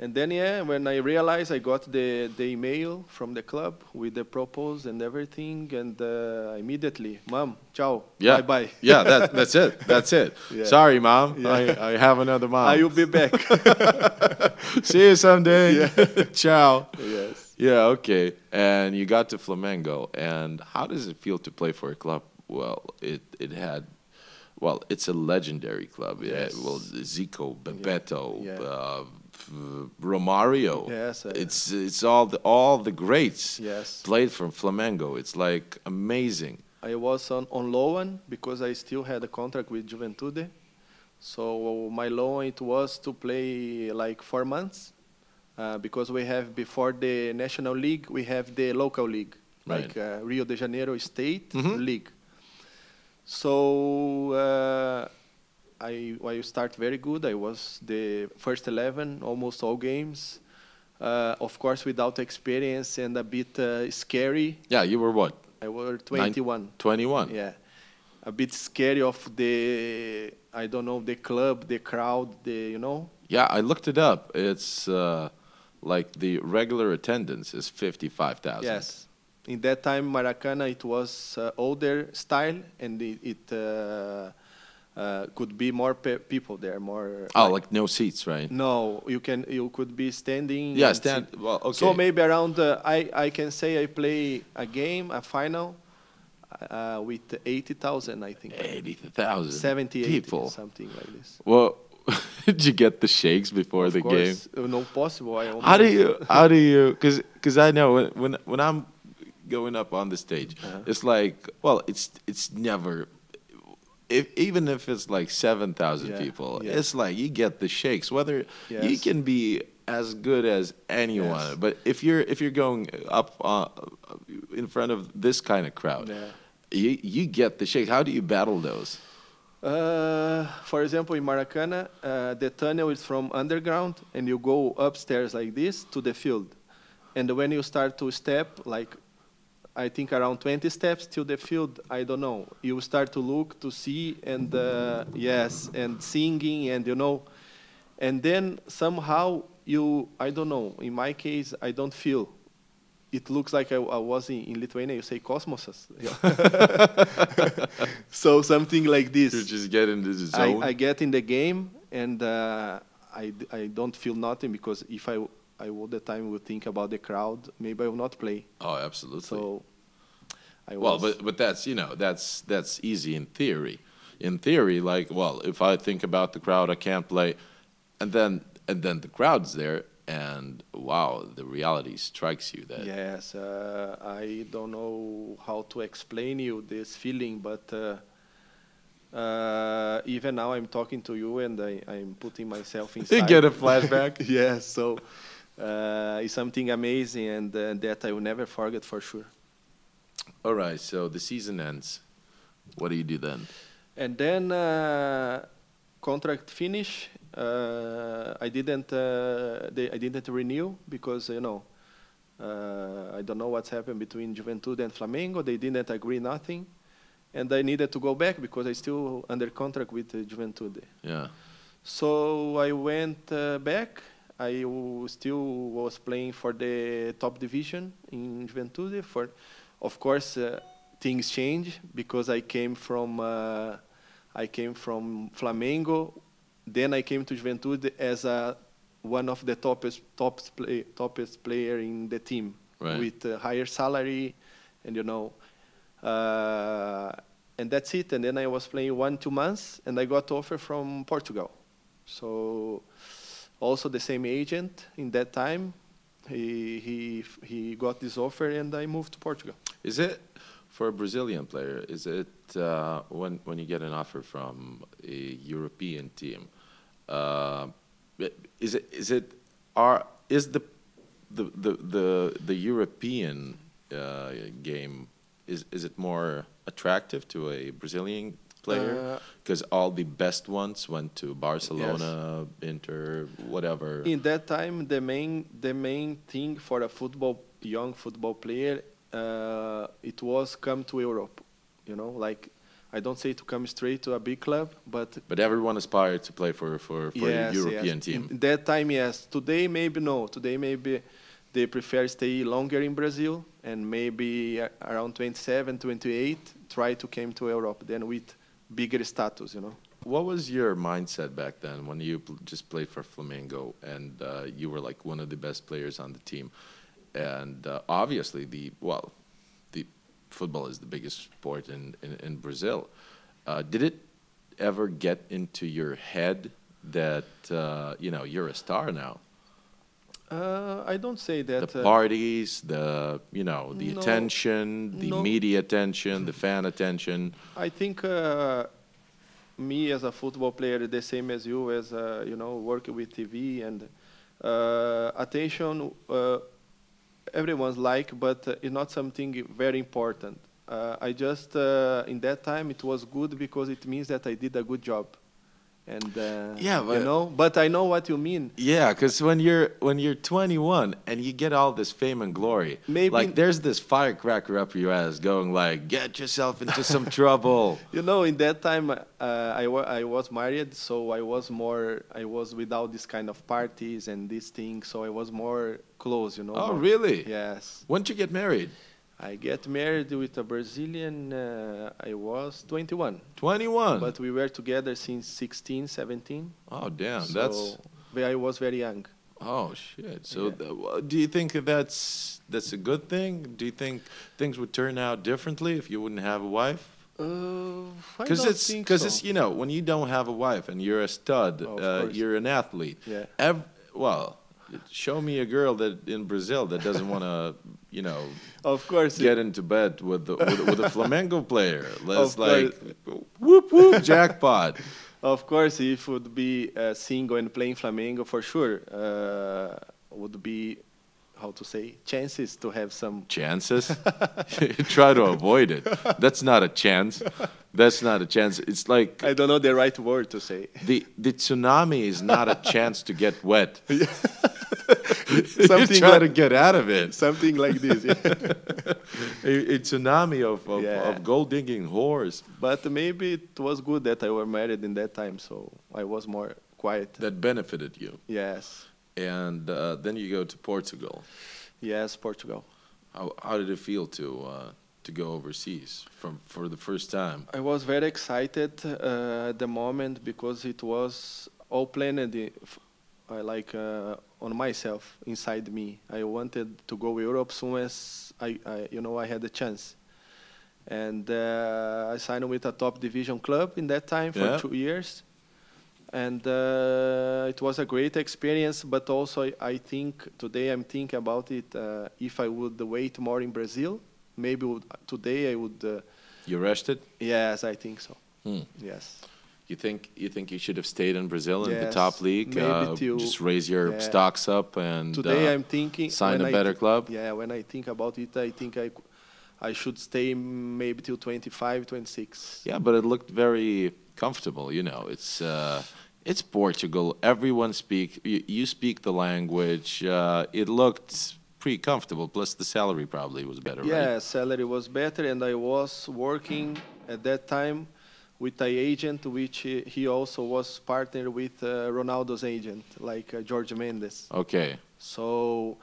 Speaker 3: and then yeah, when I realized I got the the email from the club with the proposal and everything, and uh, immediately, mom, ciao,
Speaker 2: Yeah.
Speaker 3: bye bye.
Speaker 2: yeah, that, that's it. That's it.
Speaker 3: Yeah.
Speaker 2: Sorry, mom.
Speaker 3: Yeah.
Speaker 2: I, I have another mom.
Speaker 3: I will be back.
Speaker 2: See you someday. Ciao.
Speaker 3: yes.
Speaker 2: Yeah, okay. And you got to Flamengo. And how does it feel to play for a club? Well, it, it had, well, it's a legendary club.
Speaker 3: Yes.
Speaker 2: Yeah, well, Zico, Bebeto,
Speaker 3: Yeah.
Speaker 2: Uh, f- Romario.
Speaker 3: Yes, uh,
Speaker 2: it's it's all the all the greats
Speaker 3: Yes.
Speaker 2: played from Flamengo. It's like amazing.
Speaker 3: I was on, on loan because I still had a contract with Juventude. So my loan it was to play like four months uh, because we have before the national league we have the local league
Speaker 2: Right.
Speaker 3: like uh, Rio de Janeiro State
Speaker 2: Mhm.
Speaker 3: League. So uh, I I start very good. I was the first eleven almost all games. Uh, of course, without experience and a bit uh, scary.
Speaker 2: Yeah, you were what?
Speaker 3: I were 21.
Speaker 2: 21.
Speaker 3: Yeah, a bit scary of the I don't know the club, the crowd, the you know.
Speaker 2: Yeah, I looked it up. It's uh, like the regular attendance is 55,000.
Speaker 3: Yes, in that time Maracana it was uh, older style and it, it uh, uh, could be more pe- people there, more.
Speaker 2: Oh, like no seats, right?
Speaker 3: no, you can you could be standing.
Speaker 2: Yeah,
Speaker 3: and sit-
Speaker 2: stand. Well, okay.
Speaker 3: So maybe around uh, I I can say I play a game a final uh, with eighty thousand I think.
Speaker 2: 80,000
Speaker 3: 70 80,
Speaker 2: people.
Speaker 3: something like this.
Speaker 2: Well, did you get the shakes before the game?
Speaker 3: game. uh, No possible. I
Speaker 2: How do
Speaker 3: almost-
Speaker 2: you? How do you? Because because I know when, when when I'm going up on the stage,
Speaker 3: Uh-huh.
Speaker 2: it's like well, it's it's never. If, even if it's like seven thousand
Speaker 3: Yeah,
Speaker 2: people,
Speaker 3: yeah.
Speaker 2: it's like you get the shakes. Whether you
Speaker 3: Yes.
Speaker 2: can be as good as anyone,
Speaker 3: Yes.
Speaker 2: but if you're if you're going up uh, in front of this kind of crowd,
Speaker 3: Yeah.
Speaker 2: you you get the shakes. How do you battle those?
Speaker 3: Uh, for example, in Maracana, uh, the tunnel is from underground, and you go upstairs like this to the field. And when you start to step, like I think around 20 steps to the field, I don't know. You start to look to see, and uh, yes, and singing, and you know, and then somehow you, I don't know. In my case, I don't feel. It looks like I, I was in, in Lithuania. You say cosmoses, so something like this.
Speaker 2: You just get into the zone.
Speaker 3: I, I get in the game and uh, I, d- I don't feel nothing because if I, w- I all the time would think about the crowd, maybe I will not play.
Speaker 2: oh, absolutely.
Speaker 3: So I
Speaker 2: Well,
Speaker 3: was.
Speaker 2: but but that's you know that's that's easy in theory. In theory, like well, if I think about the crowd, I can't play, and then and then the crowd's there, and wow, the reality strikes you that
Speaker 3: yes, uh, I don't know how to explain you this feeling, but uh, uh, even now I'm talking to you and I, I'm putting myself
Speaker 2: you
Speaker 3: inside.
Speaker 2: get a flashback.
Speaker 3: yes, so uh, is something amazing and uh, that I will never forget for sure.
Speaker 2: All right, so the season ends. What do you do then?
Speaker 3: And then uh, contract finish. Uh, I didn't. Uh, they, I didn't renew because you know. Uh, I don't know what's happened between Juventud and Flamengo. They didn't agree nothing, and I needed to go back because I still under contract with uh, Juventud.
Speaker 2: Yeah.
Speaker 3: So I went uh, back. I w- still was playing for the top division in Juventude. For, of course, uh, things change because I came from uh, I came from Flamengo. Then I came to Juventude as a one of the topest topest, play, topest player in the team
Speaker 2: Right.
Speaker 3: with uh, higher salary, and you know. Uh, and that's it. And then I was playing one, two months, and I got offer from Portugal. So also the same agent in that time, he he he got this offer, and I moved to Portugal.
Speaker 2: Is it for a Brazilian player? Is it uh, when when you get an offer from a European team? Uh, i- is it is it are is the the the the, the European uh, game is is it more attractive to a Brazilian player?
Speaker 3: Uh,
Speaker 2: Because all the best ones went to Barcelona, Inter, whatever.
Speaker 3: In that time, the main the main thing for a football young football player, uh, it was come to Europe. You know, like I don't say to come straight to a big club, but
Speaker 2: but everyone aspired to play for for, for a European
Speaker 3: yes.
Speaker 2: team.
Speaker 3: In that time, yes. Today, maybe no. Today, maybe they prefer stay longer in Brazil and maybe a- around 27, 28, try to come to Europe then with bigger status, you know.
Speaker 2: What was your mindset back then when you pl- just played for Flamengo and uh, you were like one of the best players on the team? And uh, obviously, the well, the football is the biggest sport in in, in Brazil. Uh, did it ever get into your head that uh, you know you're a star now?
Speaker 3: Uh, I don't say that.
Speaker 2: the
Speaker 3: uh,
Speaker 2: parties, the you know, the
Speaker 3: No.
Speaker 2: attention, the
Speaker 3: No.
Speaker 2: media attention, the fan attention.
Speaker 3: I think uh, me as a football player, the same as you, as uh, you know, working with TV and uh, attention, uh, everyone's like, but uh, it's not something very important. Uh, I just uh, in that time it was good because it means that I did a good job, and uh,
Speaker 2: Yeah, but-
Speaker 3: you know. But I know what you mean.
Speaker 2: Yeah, because when you're when you're 21 and you get all this fame and glory,
Speaker 3: Maybe-
Speaker 2: like there's this firecracker up your ass going like, get yourself into some trouble.
Speaker 3: You know, in that time, uh, I, wa- I was married, so I was more, I was without this kind of parties and these things, so I was more close, you know.
Speaker 2: Oh,
Speaker 3: more-
Speaker 2: really?
Speaker 3: Yes.
Speaker 2: When did you get married?
Speaker 3: I get married with a Brazilian, uh, I was 21,
Speaker 2: Uh-huh. 21.
Speaker 3: but we were together since 16, 17.
Speaker 2: oh damn, that's
Speaker 3: so ve- I was very young.
Speaker 2: oh shit. So
Speaker 3: Yeah.
Speaker 2: th- wha- do you think that that's that's a good thing? Do you think things would turn out differently if you wouldn't have a wife?
Speaker 3: Because
Speaker 2: Because it's because it's you know when you don't have a wife and you're a stud,
Speaker 3: Oh, of
Speaker 2: uh,
Speaker 3: course.
Speaker 2: you're an athlete.
Speaker 3: Yeah.
Speaker 2: Ev- well, show me a girl that in Brazil that doesn't want to you know
Speaker 3: Of course.
Speaker 2: get into bed with the, with, with a Flamengo player. Let's
Speaker 3: course.
Speaker 2: like whoop whoop jackpot.
Speaker 3: Of course, if would be uh, single and playing Flamengo for sure, uh, would be how to say chances to have some.
Speaker 2: Chances, try to avoid it. That's not a chance. That's not a chance. It's like
Speaker 3: I don't know the right word to say.
Speaker 2: the the tsunami is not a chance to get wet. you
Speaker 3: Something
Speaker 2: try
Speaker 3: like-
Speaker 2: to get out of it.
Speaker 3: Something like this. yeah.
Speaker 2: a, a tsunami of, of,
Speaker 3: Yeah.
Speaker 2: of gold digging whores
Speaker 3: but maybe it was good that I were married in that time, so I was more quiet.
Speaker 2: that benefited you.
Speaker 3: yes,
Speaker 2: And uh, then you go to Portugal.
Speaker 3: yes, Portugal.
Speaker 2: How, how did it feel to uh, to go overseas from for the first time?
Speaker 3: I was very excited uh, at the moment because it was all planned, i- f- I like uh, on myself, inside me. I wanted to go Europe soon as I, I you know, I had the chance. And uh, I signed with a top division club in that time for
Speaker 2: Yeah.
Speaker 3: two years. And uh, it was a great experience, but also I, I think today I'm thinking about it. Uh, if I would wait more in Brazil, maybe would, today I would. Uh,
Speaker 2: You arrested?
Speaker 3: Yes, I think so.
Speaker 2: Hmm.
Speaker 3: Yes.
Speaker 2: You think you think you should have stayed in Brazil in the top
Speaker 3: Yes,
Speaker 2: league?
Speaker 3: maybe
Speaker 2: uh,
Speaker 3: till-
Speaker 2: just raise your
Speaker 3: yeah.
Speaker 2: stocks up and
Speaker 3: Today
Speaker 2: uh,
Speaker 3: I'm thinking
Speaker 2: sign
Speaker 3: when
Speaker 2: a
Speaker 3: I
Speaker 2: better
Speaker 3: thi-
Speaker 2: club.
Speaker 3: Yeah, when I think about it, I think I, cou- I should stay maybe till 25, 26.
Speaker 2: Yeah, but it looked very comfortable. You know, it's uh, it's Portugal. Everyone speak. You, you speak the language. Uh, it looked pretty comfortable. Plus, the salary probably was better.
Speaker 3: Yeah,
Speaker 2: Right?
Speaker 3: salary was better, and I was working at that time with an agent, which he he also was partner with uh, Ronaldo's agent, like uh, George Mendes.
Speaker 2: Okay.
Speaker 3: So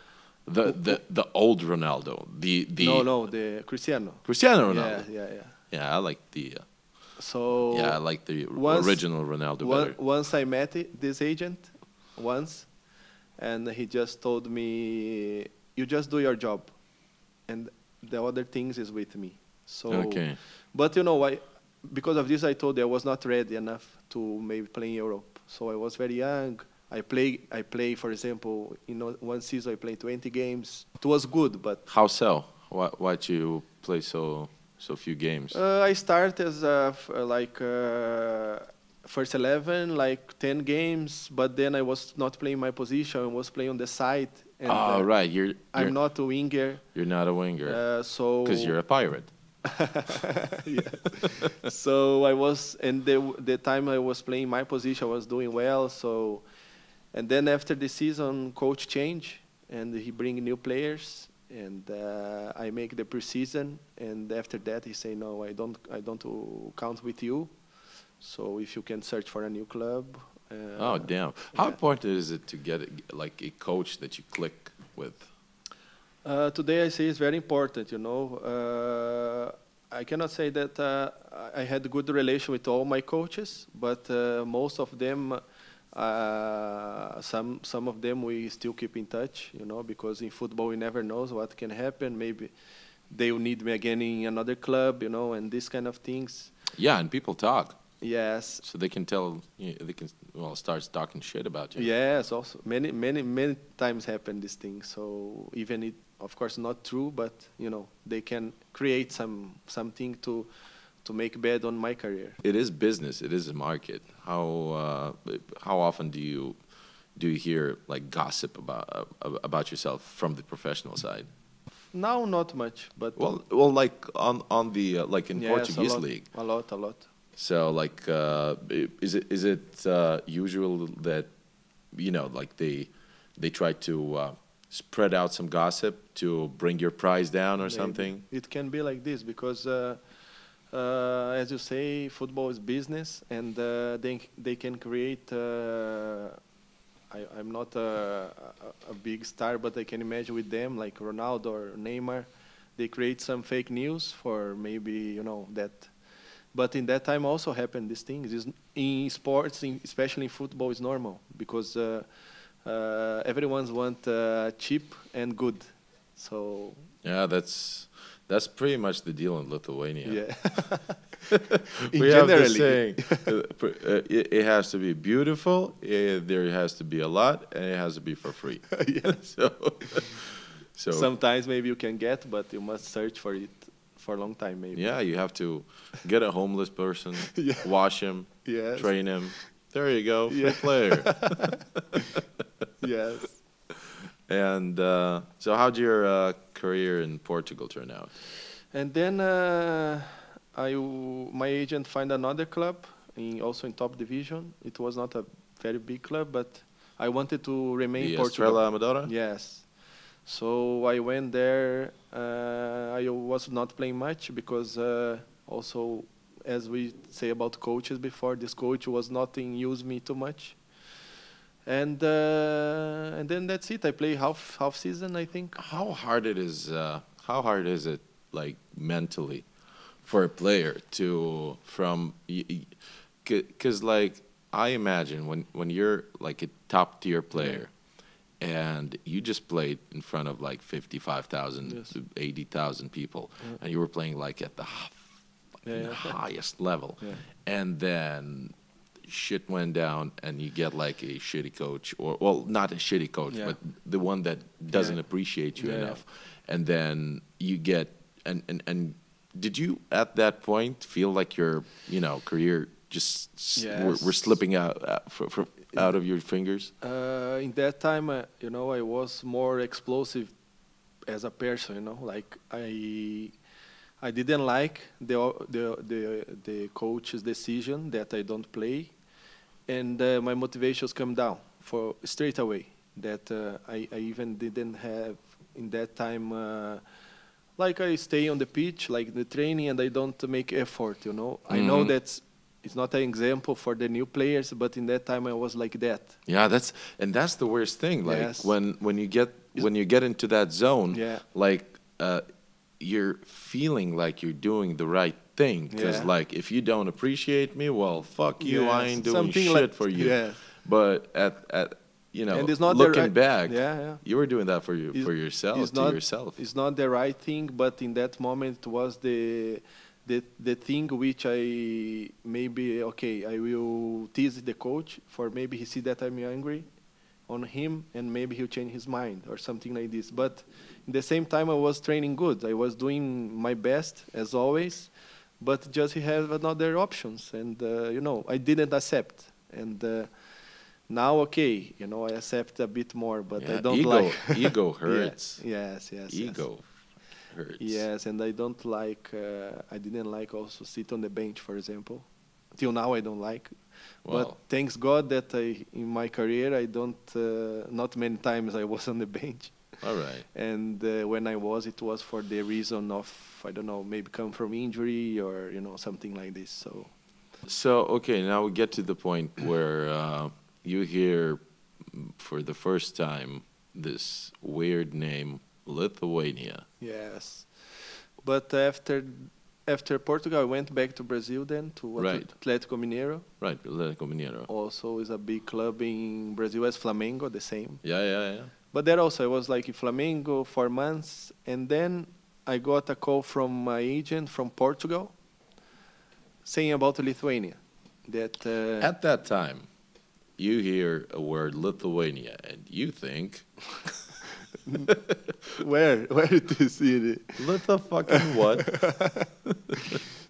Speaker 2: The the the old Ronaldo. The the
Speaker 3: no, no, the Cristiano.
Speaker 2: Cristiano Ronaldo.
Speaker 3: Yeah, Oh, yeah, yeah.
Speaker 2: Yeah, I like the uh,
Speaker 3: So
Speaker 2: yeah, I like the
Speaker 3: once-
Speaker 2: original Ronaldo
Speaker 3: One-
Speaker 2: better.
Speaker 3: once I met i- this agent, once, and he just told me, "You just do your job, and the other things is with me." So,
Speaker 2: Okay.
Speaker 3: but you know, I because of this, I told you I was not ready enough to maybe play in Europe. So I was very young. I play, I play, for example, in o- one season I played 20 games. It was good, but
Speaker 2: How so? Why why do you play so so few games?
Speaker 3: Uh, I start as a f- uh, like uh, first eleven, like ten games, but then I was not playing my position. I was playing on the side. And
Speaker 2: oh
Speaker 3: uh,
Speaker 2: right, you're
Speaker 3: I'm
Speaker 2: you're-
Speaker 3: not a winger,
Speaker 2: you're not a winger
Speaker 3: uh, so
Speaker 2: because you're a pirate.
Speaker 3: Yeah. so I was, and the the time I was playing my position, I was doing well. So, and then after the season, coach change, and he bring new players, and uh, I make the preseason, and after that he say, no, I don't, I don't uh, count with you. So if you can search for a new club. Uh,
Speaker 2: Oh damn! How
Speaker 3: yeah.
Speaker 2: important is it to get a, like a coach that you click with?
Speaker 3: Uh, today I say it's very important, you know. Uh, I cannot say that uh, I I had good relation with all my coaches, but uh, most of them, uh, some some of them we still keep in touch, you know, because in football we never knows what can happen. Maybe they will need me again in another club, you know, and these kind of things.
Speaker 2: Yeah, and people talk,
Speaker 3: Yes,
Speaker 2: so they can tell you they can well start talking shit about you.
Speaker 3: Yes, also many, many, many times happen this thing. So even it, of course, not true, but you know they can create some something to to make bad on my career.
Speaker 2: It is business. It is a market. How uh, how often do you do you hear like gossip about about yourself from the professional side?
Speaker 3: Now not much, but
Speaker 2: Well, well, like on on the uh, like in
Speaker 3: yes,
Speaker 2: Portuguese
Speaker 3: a lot,
Speaker 2: league.
Speaker 3: a lot, a lot.
Speaker 2: So like, uh, i- is it is it uh, usual that you know like they they try to uh, spread out some gossip to bring your price down or
Speaker 3: Maybe.
Speaker 2: something?
Speaker 3: It can be like this because, uh, uh, as you say, football is business, and uh, they they can create. Uh, I, I'm not a, a, a big star, but I can imagine with them, like Ronaldo or Neymar, they create some fake news for maybe you know that. But in that time also happened these things. It's, in sports, in, especially in football, is normal because uh, uh, everyone's want uh, cheap and good. So
Speaker 2: Yeah, that's that's pretty much the deal in Lithuania.
Speaker 3: yeah. In
Speaker 2: we have
Speaker 3: generally.
Speaker 2: this saying, uh, pr- uh, it, it has to be beautiful, uh there has to be a lot, and it has to be for free. so, so
Speaker 3: Sometimes maybe you can get, but you must search for it for a long time maybe.
Speaker 2: Yeah, you have to get a homeless person,
Speaker 3: Yeah.
Speaker 2: wash him,
Speaker 3: Yes.
Speaker 2: train him. There you go, free
Speaker 3: Yeah.
Speaker 2: player.
Speaker 3: Yes.
Speaker 2: and uh, so, how'd your uh, career in Portugal turn out?
Speaker 3: And then uh, I w- my agent find another club in also in top division. It was not a very big club, but I wanted to remain
Speaker 2: the
Speaker 3: Portugal.
Speaker 2: Estrela Amadora.
Speaker 3: Yes. So I went there. Uh, I was not playing much because uh, also, as we say about coaches before, this coach was not in use me too much. And uh, and then that's it. I play half half season, I think.
Speaker 2: How hard it is? Uh, how hard is it, like mentally, for a player to from? Because like I imagine when when you're like a top tier player. And you just played in front of like 55,000,
Speaker 3: Yes.
Speaker 2: 80,000 people, and you were playing like at the h-
Speaker 3: Yeah,
Speaker 2: fucking
Speaker 3: yeah.
Speaker 2: highest level.
Speaker 3: Yeah.
Speaker 2: And then shit went down, and you get like a shitty coach, or well, not a shitty coach,
Speaker 3: Yeah.
Speaker 2: but the one that doesn't
Speaker 3: Yeah.
Speaker 2: appreciate you
Speaker 3: Yeah, yeah.
Speaker 2: enough. And then you get and, and and did you at that point feel like your you know career just s- we're, we're
Speaker 3: Yes.
Speaker 2: slipping out out, fr- fr- out of your fingers?
Speaker 3: Uh, in that time, uh, you know, I was more explosive as a person. You know, like I, I didn't like the o- the the, the coach's decision that I don't play, and uh, my motivations come down for straight away. That uh, I I even didn't have in that time. Uh, like I stay on the pitch, like the training, and I don't make effort. You know, I know
Speaker 2: Mhm.
Speaker 3: that's it's not an example for the new players, but in that time I was like that.
Speaker 2: Yeah, that's and that's the worst thing. Like
Speaker 3: Yes.
Speaker 2: when when you get when you get into that zone,
Speaker 3: Yeah.
Speaker 2: like uh, you're feeling like you're doing the right thing because
Speaker 3: Yeah.
Speaker 2: like if you don't appreciate me, well, fuck you, I
Speaker 3: Yes,
Speaker 2: ain't doing
Speaker 3: something
Speaker 2: shit
Speaker 3: like-
Speaker 2: for you.
Speaker 3: yeah.
Speaker 2: But at at you know,
Speaker 3: And it's not the
Speaker 2: looking
Speaker 3: right-
Speaker 2: back,
Speaker 3: Yeah, yeah.
Speaker 2: you were doing that for you
Speaker 3: It's-
Speaker 2: for yourself
Speaker 3: it's
Speaker 2: to
Speaker 3: not-
Speaker 2: yourself.
Speaker 3: It's not the right thing, but in that moment it was the the the thing which I maybe okay I will tease the coach for maybe he see that I'm angry on him and maybe he'll change his mind or something like this. But in the same time I was training good. I was doing my best as always, but just he had another options and uh, you know I didn't accept and. Uh, now okay, you know I accept a bit more, but I
Speaker 2: Yeah,
Speaker 3: don't
Speaker 2: ego,
Speaker 3: like
Speaker 2: ego
Speaker 3: Yeah,
Speaker 2: hurts.
Speaker 3: Yes, yes. yes.
Speaker 2: Ego hurts.
Speaker 3: Yes, and I don't like. Uh, I didn't like also sit on the bench, for example. Till now, I don't like.
Speaker 2: Wow.
Speaker 3: But thanks God that I, in my career, I don't. Uh, not many times I was on the bench,
Speaker 2: All right.
Speaker 3: and uh, when I was, it was for the reason of I don't know, maybe come from injury or you know something like this. So
Speaker 2: So okay, now we get to the point where uh, you hear mm, for the first time this weird name, Lithuania.
Speaker 3: yes, but after after Portugal, I went back to Brazil then to Atl-
Speaker 2: Right.
Speaker 3: Atlético Mineiro.
Speaker 2: Right, Atlético Mineiro.
Speaker 3: also is a big club in Brazil as Flamengo, the same.
Speaker 2: Yeah, yeah, yeah.
Speaker 3: But there also I was like in Flamengo for months, and then I got a call from my agent from Portugal saying about Lithuania. That uh,
Speaker 2: At that time, you hear a word Lithuania, and you think
Speaker 3: where where it is in
Speaker 2: Lithu fucking what?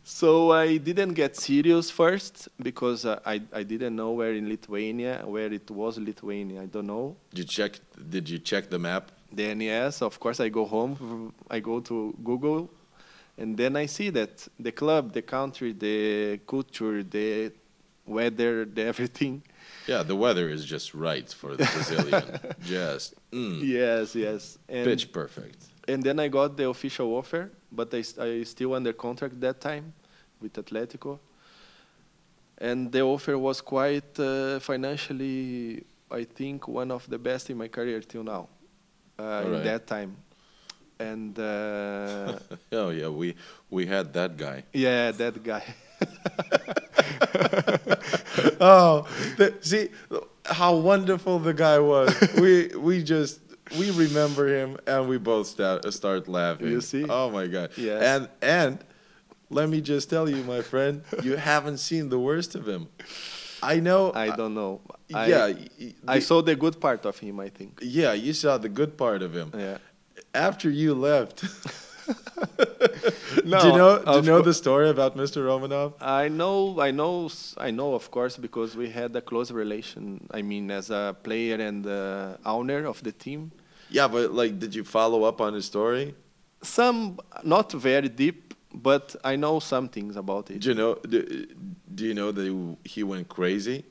Speaker 3: So I didn't get serious first because uh, I I didn't know where in Lithuania where it was Lithuania I don't know
Speaker 2: Did you check? Did you check the map?
Speaker 3: the NES. Of course, I go home, I go to Google, and then I see that the club, the country, the culture, the weather, the everything.
Speaker 2: Yeah, the weather is just right for the Brazilian. just mm,
Speaker 3: Yes, yes. And,
Speaker 2: pitch perfect.
Speaker 3: and then I got the official offer, but I, s- I still under contract that time with Atletico. And the offer was quite uh, financially, I think, one of the best in my career till now, uh, in
Speaker 2: Alright.
Speaker 3: that time. And uh,
Speaker 2: Oh yeah, we we had that guy.
Speaker 3: yeah, that guy.
Speaker 2: Oh, the, see how wonderful the guy was. we we just we remember him and we both start, start laughing.
Speaker 3: You see?
Speaker 2: Oh my god.
Speaker 3: Yes.
Speaker 2: And and let me just tell you, my friend, you haven't seen the worst of him. I know. uh,
Speaker 3: I don't know. I,
Speaker 2: yeah. y- y-
Speaker 3: I
Speaker 2: the-
Speaker 3: saw the good part of him. I think.
Speaker 2: Yeah, you saw the good part of him.
Speaker 3: Yeah.
Speaker 2: After you left.
Speaker 3: No,
Speaker 2: do you know? Do you
Speaker 3: of
Speaker 2: know
Speaker 3: cour-
Speaker 2: the story about Mr. Romanov?
Speaker 3: I know. I know. s- I know. Of course, because we had a close relation. I mean, as a player and uh, owner of the team.
Speaker 2: Yeah, but like, did you follow up on his story?
Speaker 3: Some not very deep, but I know some things about it.
Speaker 2: Do you know? Do, do you know that he went crazy?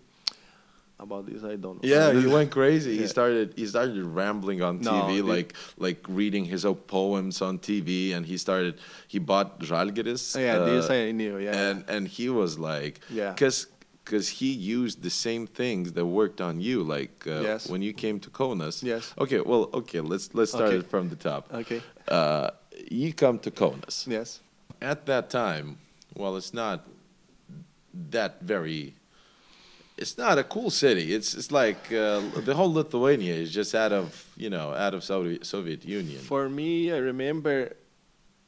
Speaker 3: about this, I don't know.
Speaker 2: Yeah, he went crazy. He
Speaker 3: Yeah.
Speaker 2: started he started rambling on
Speaker 3: No,
Speaker 2: TV,
Speaker 3: the-
Speaker 2: like like reading his own poems on TV, and he started he bought Žalgiris.
Speaker 3: Yeah, this
Speaker 2: uh,
Speaker 3: I knew. Yeah.
Speaker 2: and and he was like,
Speaker 3: Yeah.
Speaker 2: because because he used the same things that worked on you, like uh,
Speaker 3: Yes.
Speaker 2: when you came to Konas.
Speaker 3: Yes.
Speaker 2: Okay, well, okay, let's let's start
Speaker 3: Okay.
Speaker 2: it from the top.
Speaker 3: Okay.
Speaker 2: Uh, you come to Konas
Speaker 3: yes.
Speaker 2: at that time, well, it's not that very. It's not a cool city. It's it's like uh, the whole Lithuania is just out of you know out of Soviet Soviet Union.
Speaker 3: For me, I remember,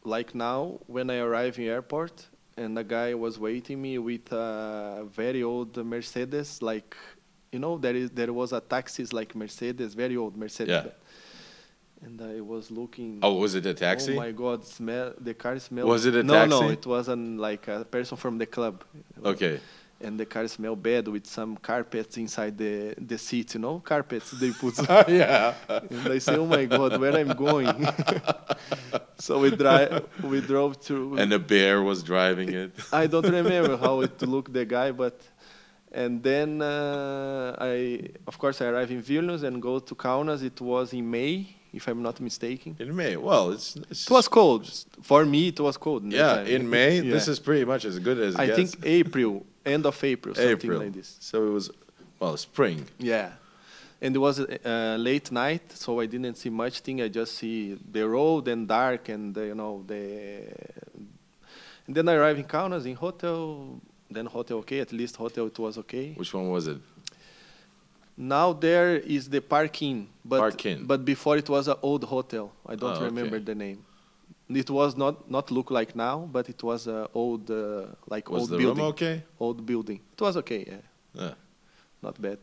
Speaker 3: like now, when I arrived in airport, and a guy was waiting me with a very old Mercedes, like, you know, there is there was a taxis like Mercedes, very old Mercedes.
Speaker 2: Yeah.
Speaker 3: And I was looking.
Speaker 2: oh, was it a taxi?
Speaker 3: Oh my God! Smell the car smell.
Speaker 2: Was it a
Speaker 3: no, No,
Speaker 2: taxi?
Speaker 3: it wasn't like a person from the club.
Speaker 2: okay,
Speaker 3: and the car smell bad with some carpets inside the the seat. You know, carpets they put.
Speaker 2: yeah.
Speaker 3: and I say, "Oh my God, where I'm going?" so we drive, we drove through.
Speaker 2: And a bear was driving it.
Speaker 3: I don't remember how it looked the guy, but and then uh, I, of course, I arrived in Vilnius and go to Kaunas. It was in May, if I'm not mistaken.
Speaker 2: In May, well, it's, it's
Speaker 3: It was cold. For me, it was cold. that
Speaker 2: yeah.
Speaker 3: time.
Speaker 2: In May, this
Speaker 3: uh, Yeah.
Speaker 2: is pretty much as good as it
Speaker 3: I
Speaker 2: gets.
Speaker 3: think April, end of April, something
Speaker 2: April.
Speaker 3: like this.
Speaker 2: So it was, well, spring.
Speaker 3: Yeah. And it was uh, late night, so I didn't see much thing. I just see the road and dark, and uh, you know the. And then I arrived in Kaunas in hotel. Then hotel okay, at least hotel it was okay.
Speaker 2: Which one was it?
Speaker 3: Now there is the parking, but
Speaker 2: Park-in.
Speaker 3: but before it was an old hotel. I don't
Speaker 2: Ah, okay.
Speaker 3: remember the name. It was not not look like now, but it was a old uh, like
Speaker 2: Was
Speaker 3: old
Speaker 2: the
Speaker 3: building.
Speaker 2: room okay?
Speaker 3: Old building. It was okay, yeah,
Speaker 2: Yeah.
Speaker 3: not bad.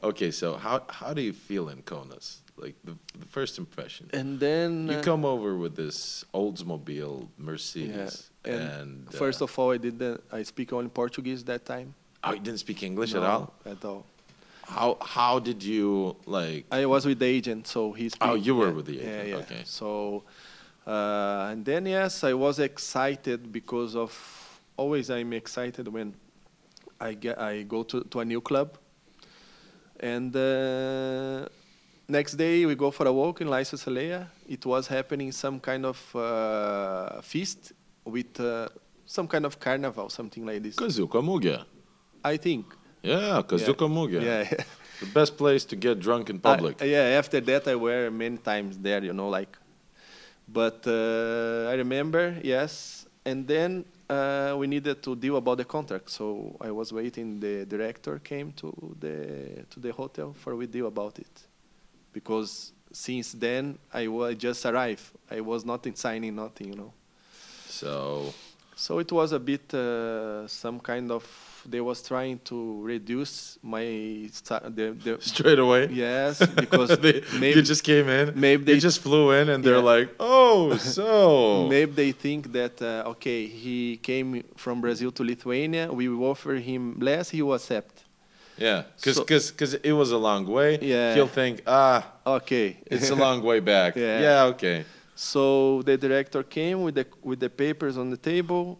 Speaker 2: Okay, so how how do you feel in Konas? Like the, the first impression.
Speaker 3: And then
Speaker 2: You
Speaker 3: uh,
Speaker 2: come over with this Oldsmobile
Speaker 3: Yeah.
Speaker 2: Mercedes,
Speaker 3: And,
Speaker 2: and,
Speaker 3: first
Speaker 2: uh,
Speaker 3: of all, I didn't. I speak only Portuguese that time.
Speaker 2: oh, you didn't speak English
Speaker 3: No,
Speaker 2: at all.
Speaker 3: At all.
Speaker 2: How how did you like?
Speaker 3: I was with the agent, so he speak.
Speaker 2: Oh, you were
Speaker 3: yeah,
Speaker 2: with the agent,
Speaker 3: Yeah, yeah.
Speaker 2: okay.
Speaker 3: So, uh, and then yes, I was excited because of always I'm excited when I get I go to, to a new club. And uh, next day we go for a walk in Lysa Saleia. It was happening some kind of uh, feast with uh, some kind of carnival, something like this.
Speaker 2: Kazuka Mugia.
Speaker 3: I think.
Speaker 2: Yeah, Kazuka Mugia.
Speaker 3: Yeah.
Speaker 2: The best place to get drunk in public.
Speaker 3: I- yeah. After that, I were many times there. You know, like. But uh, I remember, yes. And then uh, we needed to deal about the contract. So I was waiting. The director came to the to the hotel for we deal about it, because since then I was just arrived. I was not in signing nothing. You know.
Speaker 2: so
Speaker 3: So it was a bit uh, some kind of they was trying to reduce my sta- the, the
Speaker 2: straight away.
Speaker 3: yes because
Speaker 2: They-
Speaker 3: maybe
Speaker 2: you just came in.
Speaker 3: maybe
Speaker 2: you
Speaker 3: they-
Speaker 2: just flew in, and they're
Speaker 3: Yeah.
Speaker 2: like, "Oh, so
Speaker 3: maybe they think that uh, okay he came from Brazil to Lithuania we will offer him less he will accept
Speaker 2: yeah, because
Speaker 3: So-
Speaker 2: because it was a long way.
Speaker 3: Yeah.
Speaker 2: he'll think, ah,
Speaker 3: okay
Speaker 2: it's a long way back.
Speaker 3: Yeah.
Speaker 2: okay.
Speaker 3: So the director came with the with the papers on the table.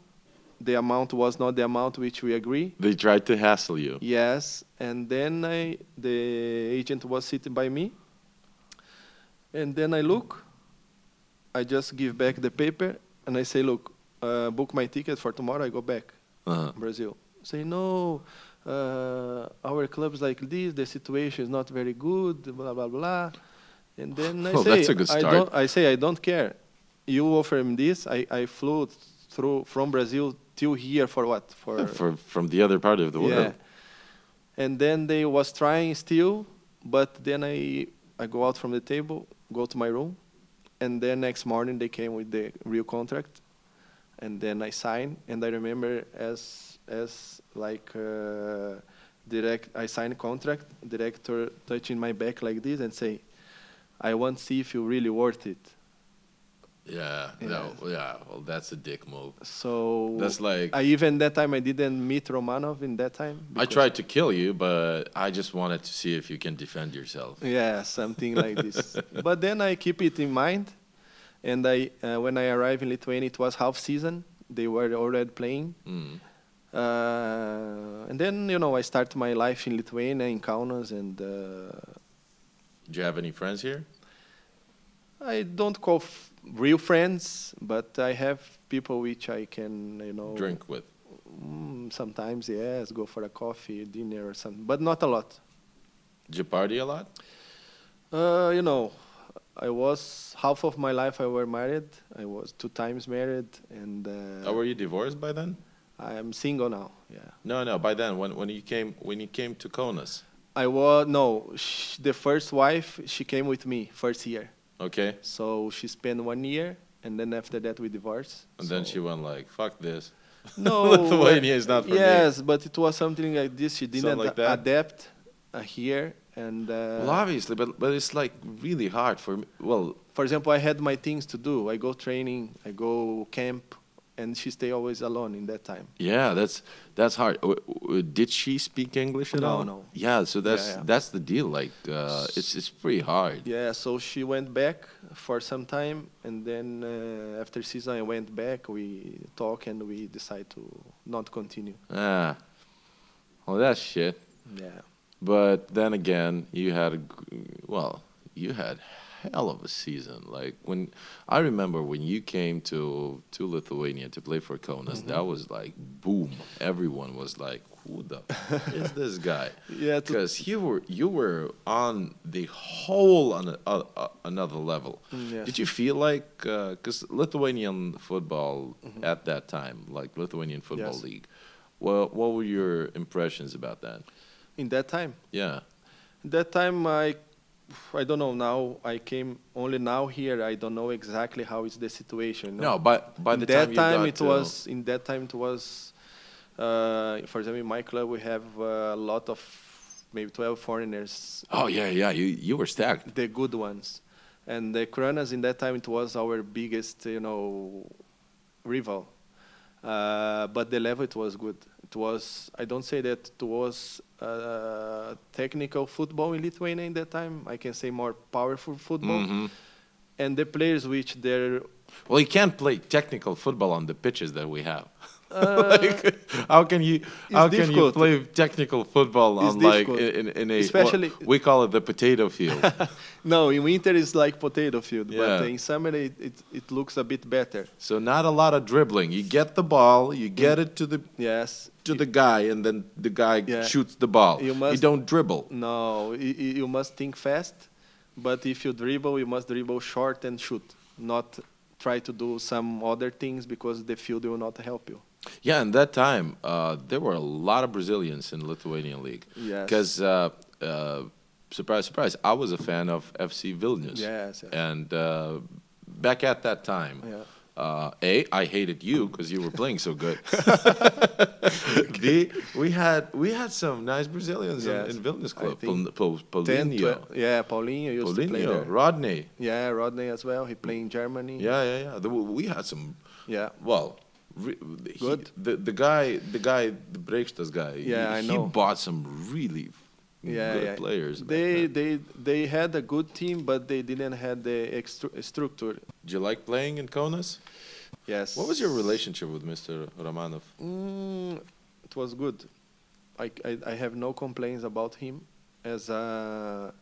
Speaker 3: The amount was not the amount which we agree.
Speaker 2: They tried to hassle you.
Speaker 3: Yes, and then I the agent was sitting by me. And then I look. I just give back the paper and I say, look, uh, book my ticket for tomorrow. I go back
Speaker 2: Uh-huh.
Speaker 3: Brazil. Say no. Uh, our clubs like this, the situation is not very good. Blah blah blah. And then I
Speaker 2: Well,
Speaker 3: say,
Speaker 2: that's a good
Speaker 3: I
Speaker 2: start.
Speaker 3: don't. I say I don't care. You offer him this. I, I flew through from Brazil till here for what? For
Speaker 2: For, from the other part of the world.
Speaker 3: and then they was trying still, but then I I go out from the table, go to my room, and then next morning they came with the real contract, and then I signed. And I remember as as like uh, direct I signed contract. Director touching my back like this and say, I want to see if you really worth it.
Speaker 2: Yeah, no, yeah. Well, that's a dick move.
Speaker 3: So
Speaker 2: That's like-
Speaker 3: I even that time I didn't meet Romanov in that time.
Speaker 2: I
Speaker 3: because-
Speaker 2: tried to kill you, but I just wanted to see if you can defend yourself.
Speaker 3: Yeah, something like this. but then I keep it in mind, and I uh, when I arrived in Lithuania, it was half season. They were already playing,
Speaker 2: Mm.
Speaker 3: uh, and then you know I start my life in Lithuania in Kaunas, and uh,
Speaker 2: Do you have any friends here?
Speaker 3: I don't call f- real friends, but I have people which I can you know
Speaker 2: Drink with.
Speaker 3: Mm, sometimes yes, go for a coffee, dinner, or something, but not a lot.
Speaker 2: Did you party a lot?
Speaker 3: Uh, you know, I was half of my life I were married. I was two times married, and uh,
Speaker 2: Or Oh, were you divorced by then?
Speaker 3: I am single now. Yeah,
Speaker 2: No, no. By then, when when you came when you came to Konas,
Speaker 3: I was no. Sh- the first wife she came with me first year,
Speaker 2: okay,
Speaker 3: so she spent one year, and then after that we divorced.
Speaker 2: and then
Speaker 3: so-
Speaker 2: she went like, "Fuck this."
Speaker 3: no
Speaker 2: Lithuania is not for me.
Speaker 3: yes, but it was something like this. She
Speaker 2: Something
Speaker 3: didn't
Speaker 2: like
Speaker 3: a-
Speaker 2: that?
Speaker 3: adapt uh, here, and uh,
Speaker 2: well, obviously, but but it's like really hard for me. Well,
Speaker 3: for example, I had my things to do. I go training, I go camp, and she stay always alone in that time.
Speaker 2: Yeah, that's that's hard. W- w- did she speak English at
Speaker 3: No,
Speaker 2: all?
Speaker 3: no.
Speaker 2: Yeah, so that's
Speaker 3: yeah.
Speaker 2: that's the deal. Like, uh, it's it's pretty hard.
Speaker 3: Yeah, so she went back for some time, and then uh, after season I went back. We talk and we decide to not continue.
Speaker 2: Ah, well, that's shit.
Speaker 3: Yeah,
Speaker 2: But then again, you had a g- well, you had hell of a season. Like when I remember when you came to to Lithuania to play for Kaunas, that
Speaker 3: Mm-hmm.
Speaker 2: was like boom. Everyone was like, "Who the f- is this guy?"
Speaker 3: Yeah, to-
Speaker 2: because you were you were on the whole on a, a, a- another level.
Speaker 3: Mm, yeah.
Speaker 2: Did you feel like because Lithuanian football at that time, like Lithuanian football
Speaker 3: Mm-hmm.
Speaker 2: league,
Speaker 3: Yes.
Speaker 2: well, what were your impressions about that?
Speaker 3: in that time,
Speaker 2: Yeah.
Speaker 3: that time I, I don't know now. I came only now here. I don't know exactly how is the situation. you know.
Speaker 2: No, by by
Speaker 3: in
Speaker 2: the
Speaker 3: that
Speaker 2: time,
Speaker 3: time,
Speaker 2: you got
Speaker 3: it
Speaker 2: to-
Speaker 3: was in that time it was uh, for example in my club we have uh, a lot of maybe 12 foreigners
Speaker 2: Oh yeah, yeah. You you were stacked.
Speaker 3: the good ones and the Kronas in that time it was our biggest you know rival uh, but the level it was good it was i don't say that it was uh, technical football in lithuania in that time i can say more powerful football
Speaker 2: Mhm.
Speaker 3: and the players which they're
Speaker 2: Well, you can't play technical football on the pitches that we have. like, how can you how can you
Speaker 3: Uh, difficult.
Speaker 2: play technical football
Speaker 3: It's
Speaker 2: on like
Speaker 3: difficult.
Speaker 2: in, in a
Speaker 3: Especially-
Speaker 2: what- we call it the potato field.
Speaker 3: No, in winter it's like potato field,
Speaker 2: Yeah.
Speaker 3: but in summer it, it, it looks a bit better.
Speaker 2: so not a lot of dribbling. You get the ball,
Speaker 3: Mm.
Speaker 2: you get it to the
Speaker 3: Yes.
Speaker 2: to the guy, and then the guy
Speaker 3: Yeah.
Speaker 2: shoots the ball.
Speaker 3: You
Speaker 2: You,
Speaker 3: must-
Speaker 2: don't dribble.
Speaker 3: No, y- y- you must think fast, but if you dribble, you must dribble short and shoot, not try to do some other things because the field will not help you.
Speaker 2: Yeah, in that time, uh, there were a lot of Brazilians in Lithuanian league.
Speaker 3: Yes.
Speaker 2: Because, uh, uh, surprise, surprise, I was a fan of FC Vilnius.
Speaker 3: Yes, yes.
Speaker 2: And uh, back at that time,
Speaker 3: Yeah.
Speaker 2: uh, A, I hated you because you were playing so good. B, we had we had some nice Brazilians
Speaker 3: Yes.
Speaker 2: in, in Vilnius
Speaker 3: I
Speaker 2: club.
Speaker 3: think
Speaker 2: Pol- Pol-
Speaker 3: 10,
Speaker 2: Paulinho.
Speaker 3: 12 yeah, Paulinho used to play there. Mm.
Speaker 2: Paulinho, Rodney.
Speaker 3: yeah, Rodney as well. He played in Germany.
Speaker 2: Yeah, yeah, yeah. There were- we had some
Speaker 3: Yeah.
Speaker 2: well, re- he,
Speaker 3: Good.
Speaker 2: The the guy, the guy, the Breaksters guy.
Speaker 3: Yeah,
Speaker 2: he,
Speaker 3: I
Speaker 2: he
Speaker 3: know.
Speaker 2: bought some really
Speaker 3: yeah,
Speaker 2: good
Speaker 3: yeah.
Speaker 2: players. back
Speaker 3: They
Speaker 2: then.
Speaker 3: they they had a good team, but they didn't have the extru- structure.
Speaker 2: Did you like playing in Konas?
Speaker 3: Yes.
Speaker 2: What was your relationship with Mr. Romanov?
Speaker 3: Mm, it was good. I, I, I have no complaints about him as a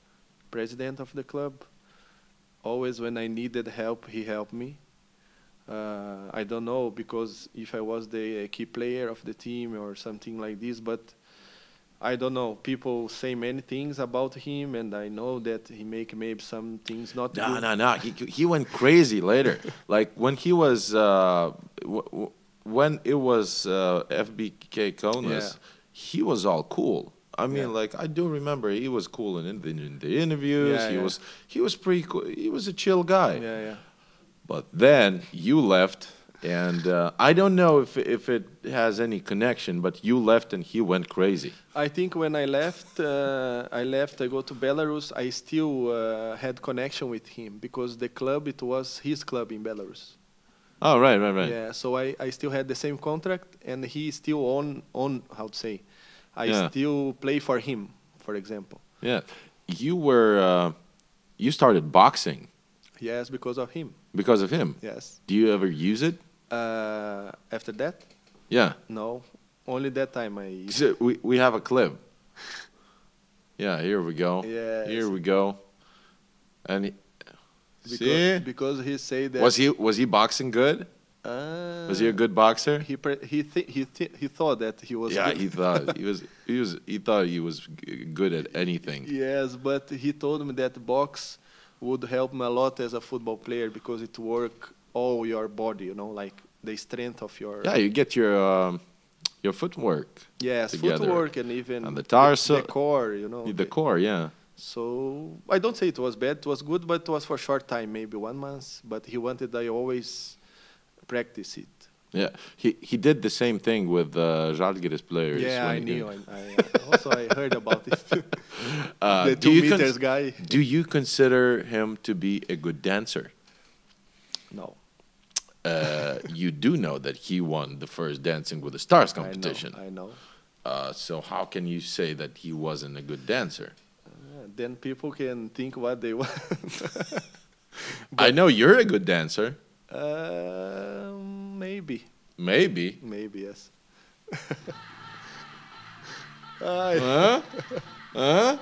Speaker 3: president of the club. Always when I needed help, he helped me. Uh, I don't know because if I was the uh, key player of the team or something like this, but I don't know. People say many things about him, and I know that he make maybe some things not
Speaker 2: No,
Speaker 3: good.
Speaker 2: no, no. He he went crazy later. like when he was uh, w- w- when it was uh, FBK Konas,
Speaker 3: Yeah.
Speaker 2: he was all cool. I mean,
Speaker 3: Yeah.
Speaker 2: like I do remember he was cool in, in, the, in the interviews.
Speaker 3: Yeah,
Speaker 2: he
Speaker 3: yeah.
Speaker 2: was he was pretty cool. He was a chill guy.
Speaker 3: Yeah, yeah.
Speaker 2: But then you left, and uh, I don't know if if it has any connection. But you left, and he went crazy.
Speaker 3: I think when I left, uh, I left. I go to Belarus. I still uh, had connection with him because the club it was his club in Belarus.
Speaker 2: Oh right, right, right.
Speaker 3: Yeah, so I, I still had the same contract, and he still on on how to say, I
Speaker 2: Yeah.
Speaker 3: still play for him, for example.
Speaker 2: Yeah. You were uh, you started boxing
Speaker 3: Yes, because of him.
Speaker 2: because of him.
Speaker 3: Yes.
Speaker 2: Do you ever use it?
Speaker 3: Uh, after that,
Speaker 2: Yeah.
Speaker 3: no, only that time I.
Speaker 2: So we we have a clip. Yeah, here we go.
Speaker 3: Yes.
Speaker 2: Here we go. And he,
Speaker 3: Because,
Speaker 2: see,
Speaker 3: because he said that.
Speaker 2: was he was he boxing good?
Speaker 3: Uh,
Speaker 2: Was he a good boxer?
Speaker 3: He pre- he thi- he thi- he thought that he was.
Speaker 2: yeah,
Speaker 3: good.
Speaker 2: he thought he was he was he thought he was g- good at anything.
Speaker 3: Yes, but he told me that box would help me a lot as a football player because it work all your body, you know, like the strength of your
Speaker 2: Yeah, you get your um, your footwork,
Speaker 3: yes
Speaker 2: together.
Speaker 3: footwork and even
Speaker 2: And the
Speaker 3: the,
Speaker 2: torso-
Speaker 3: core, you know.
Speaker 2: the core. Yeah,
Speaker 3: so I don't say it was bad, it was good, but it was for short time, maybe one month. But he wanted I always practice it.
Speaker 2: yeah. He he did the same thing with uh, Žalgiris players.
Speaker 3: yeah, I
Speaker 2: when he-
Speaker 3: knew. I, I uh, also I heard about it.
Speaker 2: Uh,
Speaker 3: the
Speaker 2: do
Speaker 3: two
Speaker 2: you cons-
Speaker 3: meters guy.
Speaker 2: Do you consider him to be a good dancer?
Speaker 3: No.
Speaker 2: uh, you do know that he won the first Dancing with the Stars
Speaker 3: I know,
Speaker 2: competition.
Speaker 3: I know.
Speaker 2: Uh, so how can you say that he wasn't a good dancer?
Speaker 3: Yeah, then people can think what they want.
Speaker 2: I know you're a good dancer. Uh,
Speaker 3: um, maybe,
Speaker 2: Maybe.
Speaker 3: maybe yes. Ai,
Speaker 2: Huh? Huh?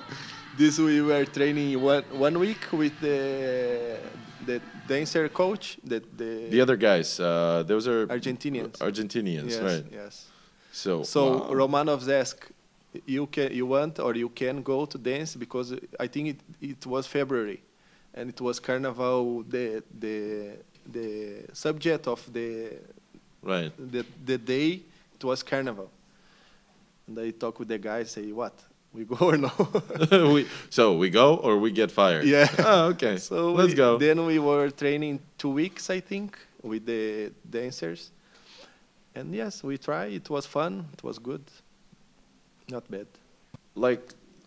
Speaker 3: this we were training one one week with the the dancer coach that the,
Speaker 2: The other guys, uh, those are
Speaker 3: Argentinians.
Speaker 2: Argentinians,
Speaker 3: yes,
Speaker 2: right?
Speaker 3: yes.
Speaker 2: So,
Speaker 3: So
Speaker 2: wow.
Speaker 3: Romanovs ask, you can, you want or you can go to dance because I think it, it was February, and it was Carnival the the the subject of the
Speaker 2: right.
Speaker 3: the, the day it was Carnival. And I talk with the guy say what we go or no.
Speaker 2: we, so we go or we get fired.
Speaker 3: Yeah.
Speaker 2: Oh, okay.
Speaker 3: so
Speaker 2: let's
Speaker 3: we-
Speaker 2: go.
Speaker 3: Then we were training two weeks, I think, with the dancers. And yes, we try. It was fun. It was good. Not bad.
Speaker 2: like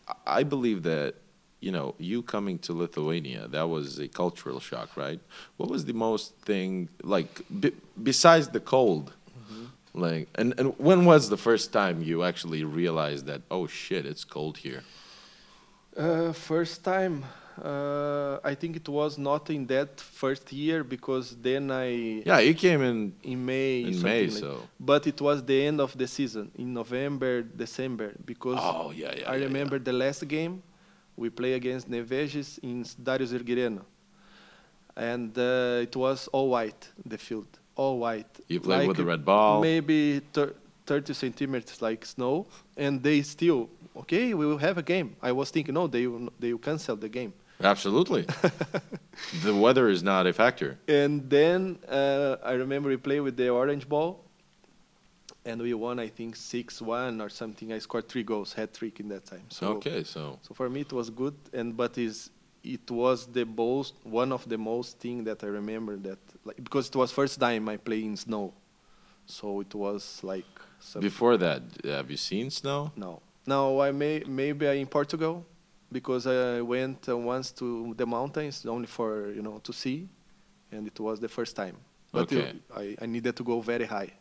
Speaker 2: I- I believe that you know you coming to Lithuania that was a cultural shock, right? What was the most thing like b- besides the cold?
Speaker 3: Mm-hmm.
Speaker 2: Like and, and when was the first time you actually realized that oh shit it's cold here?
Speaker 3: Uh, first time, uh, I think it was not in that first year because then I
Speaker 2: Yeah, you came in
Speaker 3: in May.
Speaker 2: in
Speaker 3: something
Speaker 2: May,
Speaker 3: like-
Speaker 2: so
Speaker 3: But it was the end of the season in November, December because
Speaker 2: oh yeah yeah.
Speaker 3: I
Speaker 2: yeah, yeah.
Speaker 3: remember the last game we play against Neveges in Dario Zergireno. And uh, it was all white, the field, all white.
Speaker 2: You played with the red ball.
Speaker 3: Maybe thir- 30 centimeters like snow. And they still, okay, we will have a game. I was thinking, no, they will, they will cancel the game.
Speaker 2: Absolutely. the weather is not a factor.
Speaker 3: And then uh, I remember we played with the orange ball. And we won, I think, 6 1 or something. I scored three goals, hat trick in that time. So
Speaker 2: okay, so
Speaker 3: So for me it was good, and but is it was the most one of the most thing that I remember that like because it was first time I play in snow, so it was like some,
Speaker 2: before that, have you seen snow?
Speaker 3: no. Now I may maybe I in Portugal because I went uh, once to the mountains only for you know to see, and it was the first time. But you-
Speaker 2: Okay.
Speaker 3: I, I needed to go very high,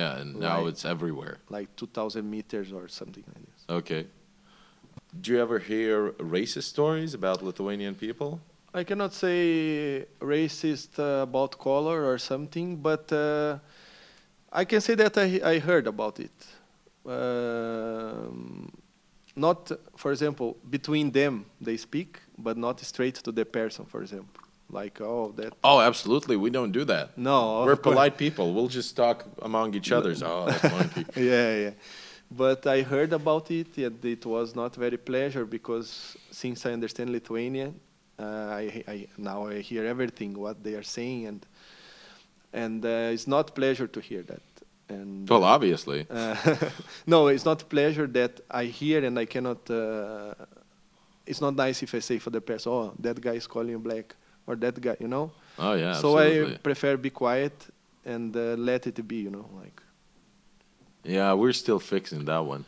Speaker 2: Yeah, and now
Speaker 3: Right.
Speaker 2: it's everywhere.
Speaker 3: like 2,000 meters or something like this.
Speaker 2: Okay. Do you ever hear racist stories about Lithuanian people?
Speaker 3: I cannot say racist uh, about color or something, but uh, I can say that I, I heard about it. Um, not, for example, between them they speak, but not straight to the person, for example. Like, oh, that.
Speaker 2: Oh, absolutely. We don't do that.
Speaker 3: No. of
Speaker 2: We're
Speaker 3: course.
Speaker 2: polite people. We'll just talk among each other's. Oh, that's monkey.
Speaker 3: yeah, yeah. But I heard about it, and it was not very pleasure because since I understand Lithuania, uh, I, I now I hear everything what they are saying, and and uh, it's not pleasure to hear that. And
Speaker 2: Well, obviously.
Speaker 3: uh, no, it's not pleasure that I hear and I cannot. Uh, it's not nice if I say for the person, oh, that guy is calling you black or that guy, you know.
Speaker 2: Oh, yeah.
Speaker 3: so
Speaker 2: absolutely.
Speaker 3: I prefer be quiet and uh, let it be, you know, like.
Speaker 2: Yeah, we're still fixing that one.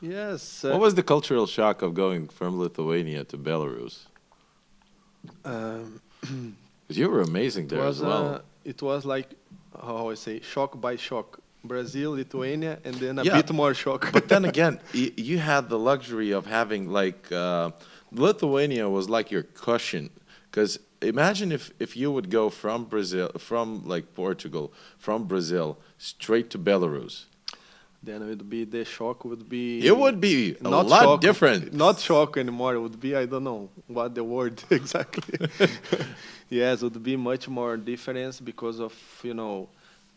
Speaker 3: Yes. uh,
Speaker 2: What was the cultural shock of going from Lithuania to Belarus?
Speaker 3: um,
Speaker 2: 'Cause you were amazing there as
Speaker 3: uh,
Speaker 2: well.
Speaker 3: it was like how I say shock by shock. Brazil, Lithuania, and then a
Speaker 2: Yeah.
Speaker 3: bit more shock.
Speaker 2: but then again, y- you had the luxury of having like uh, Lithuania was like your cushion. Because imagine if, if you would go from Brazil, from like Portugal, from Brazil straight to Belarus.
Speaker 3: then it would be the shock would be
Speaker 2: It would be a
Speaker 3: not
Speaker 2: lot
Speaker 3: shock-
Speaker 2: different. Oh,
Speaker 3: Not shock anymore. It would be I don't know what the word exactly. yes, would be much more difference because of you know,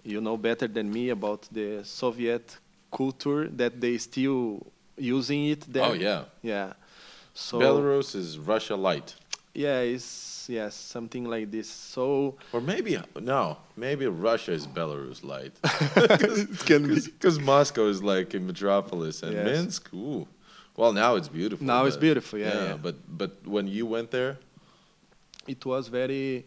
Speaker 3: you know better than me about the Soviet culture that they still using it. There.
Speaker 2: Oh, yeah.
Speaker 3: yeah. So
Speaker 2: Belarus is Russia light.
Speaker 3: yeah, it's yes something like this. So.
Speaker 2: Or maybe, no, maybe Russia is Belarus light.
Speaker 3: it can be.
Speaker 2: Because Moscow is like a metropolis and
Speaker 3: Yes.
Speaker 2: Minsk, ooh. Well, now it's beautiful.
Speaker 3: Now it's
Speaker 2: but-
Speaker 3: beautiful, yeah, yeah.
Speaker 2: But, but when you went there,
Speaker 3: It was very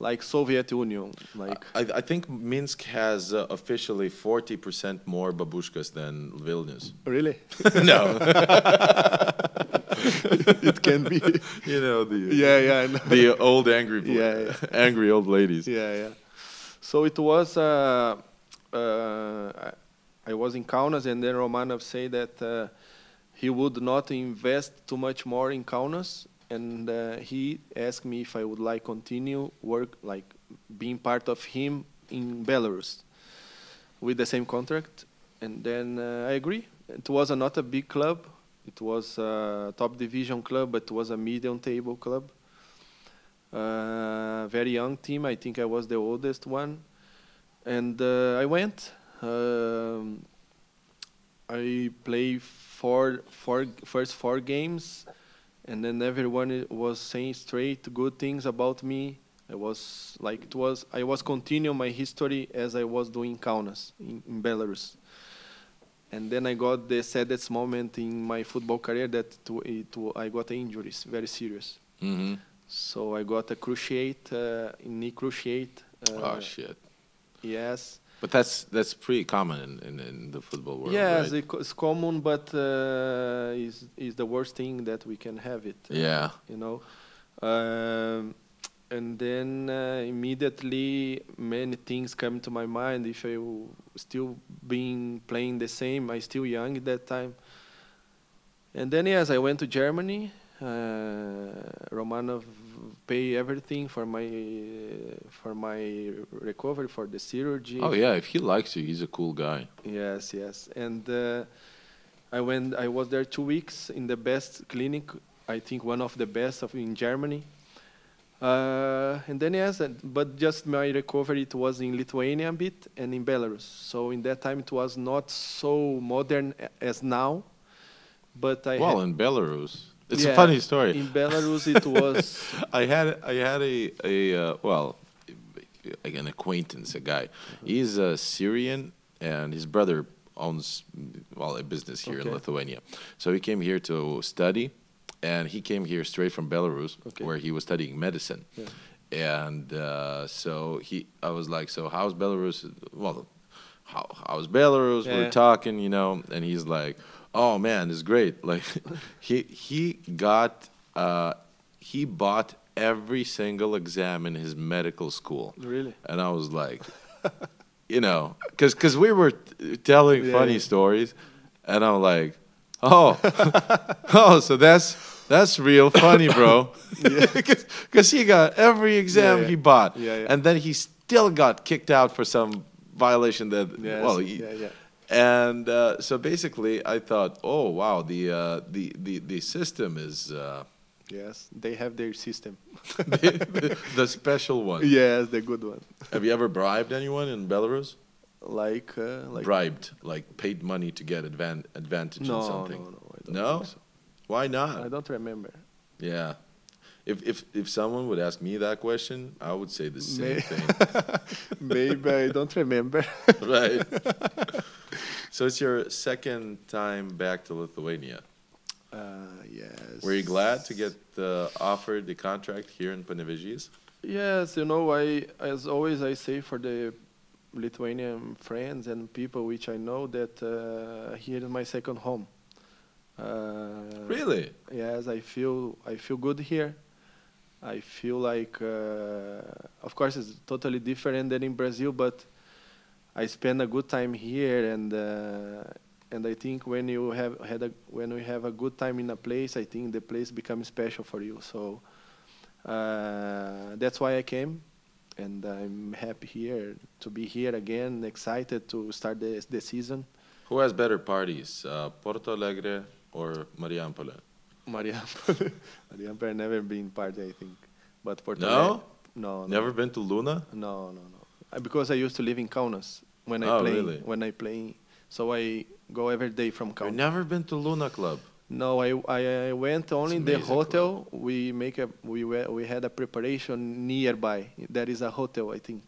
Speaker 3: like Soviet Union, like
Speaker 2: I, I think Minsk has uh, officially 40% more babushkas than Vilnius.
Speaker 3: really.
Speaker 2: no,
Speaker 3: it can be.
Speaker 2: you know the
Speaker 3: Yeah, yeah, I know.
Speaker 2: the old angry
Speaker 3: Yeah, yeah.
Speaker 2: angry old ladies.
Speaker 3: yeah, yeah. So it was. Uh, uh, I- I was in Kaunas, and then Romanov said that uh, he would not invest too much more in Kaunas, and uh, he asked me if I would like continue work, like being part of him in Belarus with the same contract, and then uh, I agree. It was a, not a big club. It was a top division club, but it was a medium table club. Uh, very young team. I think I was the oldest one, and uh, I went. Um, I played four, four, first four games, and then everyone i- was saying straight good things about me. I was like it was. I was continuing my history as I was doing in Kaunas in, in Belarus, and then I got the saddest moment in my football career that it, wa- it, wa- I got injuries, very serious.
Speaker 2: Mm-hmm.
Speaker 3: So I got a cruciate, uh, knee cruciate. Uh,
Speaker 2: oh shit!
Speaker 3: yes.
Speaker 2: But that's that's pretty common in, in, in the football world.
Speaker 3: Yes,
Speaker 2: right?
Speaker 3: it co- it's common, but uh, is is the worst thing that we can have it.
Speaker 2: yeah.
Speaker 3: You know, um, and then uh, immediately many things come to my mind. If I w- still being playing the same, I still young at that time. And then yes, I went to Germany. Uh, Romanov pay everything for my for my recovery for the surgery.
Speaker 2: Oh yeah. If he likes you, he's a cool guy.
Speaker 3: Yes, yes. And uh, I went. I was there two weeks in the best clinic. I think one of the best of in Germany. Uh, and then yes, and, but just my recovery it was in Lithuania a bit and in Belarus. So in that time it was not so modern a- as now. But I
Speaker 2: well,
Speaker 3: had-
Speaker 2: in Belarus, it's
Speaker 3: Yeah,
Speaker 2: a funny story.
Speaker 3: In Belarus it was
Speaker 2: I had I had a a uh, well, like an acquaintance, a guy. He's a Syrian, and his brother owns well a business here in
Speaker 3: Okay.
Speaker 2: Lithuania. So he came here to study, and he came here straight from Belarus,
Speaker 3: Okay.
Speaker 2: where he was studying medicine. And uh, so he, I was like, so how's Belarus? Well, how, how's Belarus?
Speaker 3: Yeah.
Speaker 2: We're talking, you know, and he's like, oh man, it's great. Like, he he got uh, he bought every single exam in his medical school,
Speaker 3: really
Speaker 2: and I was like, you know, because because we were t- telling
Speaker 3: Yeah,
Speaker 2: funny
Speaker 3: yeah.
Speaker 2: stories, and I'm like, oh, oh, so that's that's real funny, bro. Because he got every exam
Speaker 3: Yeah, yeah.
Speaker 2: he bought,
Speaker 3: Yeah, yeah.
Speaker 2: and then he still got kicked out for some violation that
Speaker 3: Yes,
Speaker 2: well, he-
Speaker 3: yeah, yeah.
Speaker 2: and uh, so basically, I thought, oh wow, the uh, the, the the system is uh,
Speaker 3: yes they have their system.
Speaker 2: the, the special one.
Speaker 3: yes, the good one.
Speaker 2: Have you ever bribed anyone in Belarus?
Speaker 3: Like uh, like
Speaker 2: bribed, like paid money to get advan- advantage
Speaker 3: No,
Speaker 2: in something.
Speaker 3: no, no, I don't
Speaker 2: No?
Speaker 3: think so.
Speaker 2: Why
Speaker 3: I
Speaker 2: not?
Speaker 3: don't remember.
Speaker 2: Yeah. If, if if someone would ask me that question, I would say the same
Speaker 3: May-
Speaker 2: thing,
Speaker 3: Maybe I don't remember.
Speaker 2: right? so it's your second time back to Lithuania.
Speaker 3: Uh, yes.
Speaker 2: Were you glad to get uh, offered the contract here in Panevėžys?
Speaker 3: Uh, Yes, you know, I as always I say for the Lithuanian friends and people which I know that uh, here is my second home. Uh,
Speaker 2: Really?
Speaker 3: Yes, I feel I feel good here. I feel like, uh, of course, it's totally different than in Brazil, but I spend a good time here, and uh, and I think when you have had a, when we have a good time in a place, I think the place becomes special for you. So uh, that's why I came, and I'm happy here to be here again. Excited to start the the season.
Speaker 2: Who has better parties, uh, Porto Alegre or Mariampolė?
Speaker 3: Mariampere. Mariampere never been party, I think. But Porto
Speaker 2: No?
Speaker 3: Alegre- no, no,
Speaker 2: Never been to Luna?
Speaker 3: no, no, no. Uh, Because I used to live in Kaunas when I
Speaker 2: Oh,
Speaker 3: play.
Speaker 2: really?
Speaker 3: When I play, so I go every day from
Speaker 2: I've
Speaker 3: Kaunas.
Speaker 2: never been to Luna Club.
Speaker 3: No, I, I I went only in the
Speaker 2: amazing club.
Speaker 3: hotel. We make a we were, we had a preparation nearby. There is a hotel, I think,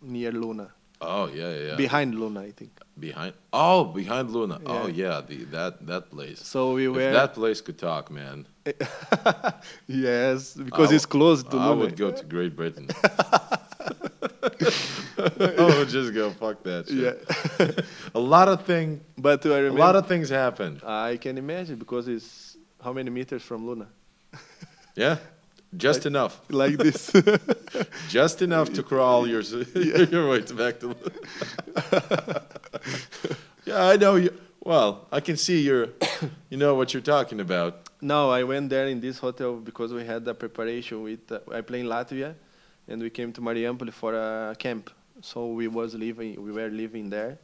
Speaker 3: near Luna,
Speaker 2: Oh yeah, yeah. yeah.
Speaker 3: behind Luna, I think.
Speaker 2: Behind oh, behind Luna. Oh
Speaker 3: Yeah.
Speaker 2: yeah, the that that place.
Speaker 3: So we
Speaker 2: if
Speaker 3: were
Speaker 2: that place could talk, man.
Speaker 3: yes because
Speaker 2: I
Speaker 3: it's close to
Speaker 2: I
Speaker 3: Luna.
Speaker 2: would go to Great Britain. I would just go fuck that shit. a lot of thing
Speaker 3: but I
Speaker 2: a
Speaker 3: remember
Speaker 2: lot of things happen.
Speaker 3: I can imagine because it's how many meters from Luna?
Speaker 2: Yeah. Just enough,
Speaker 3: like this.
Speaker 2: just enough to crawl your, s- your way to back to. yeah, I know you. Well, I can see you're, you know what you're talking about.
Speaker 3: no, I went there in this hotel because we had a preparation with. Uh, I play in Latvia, and we came to Mariampol for a camp. So we was living, we were living there,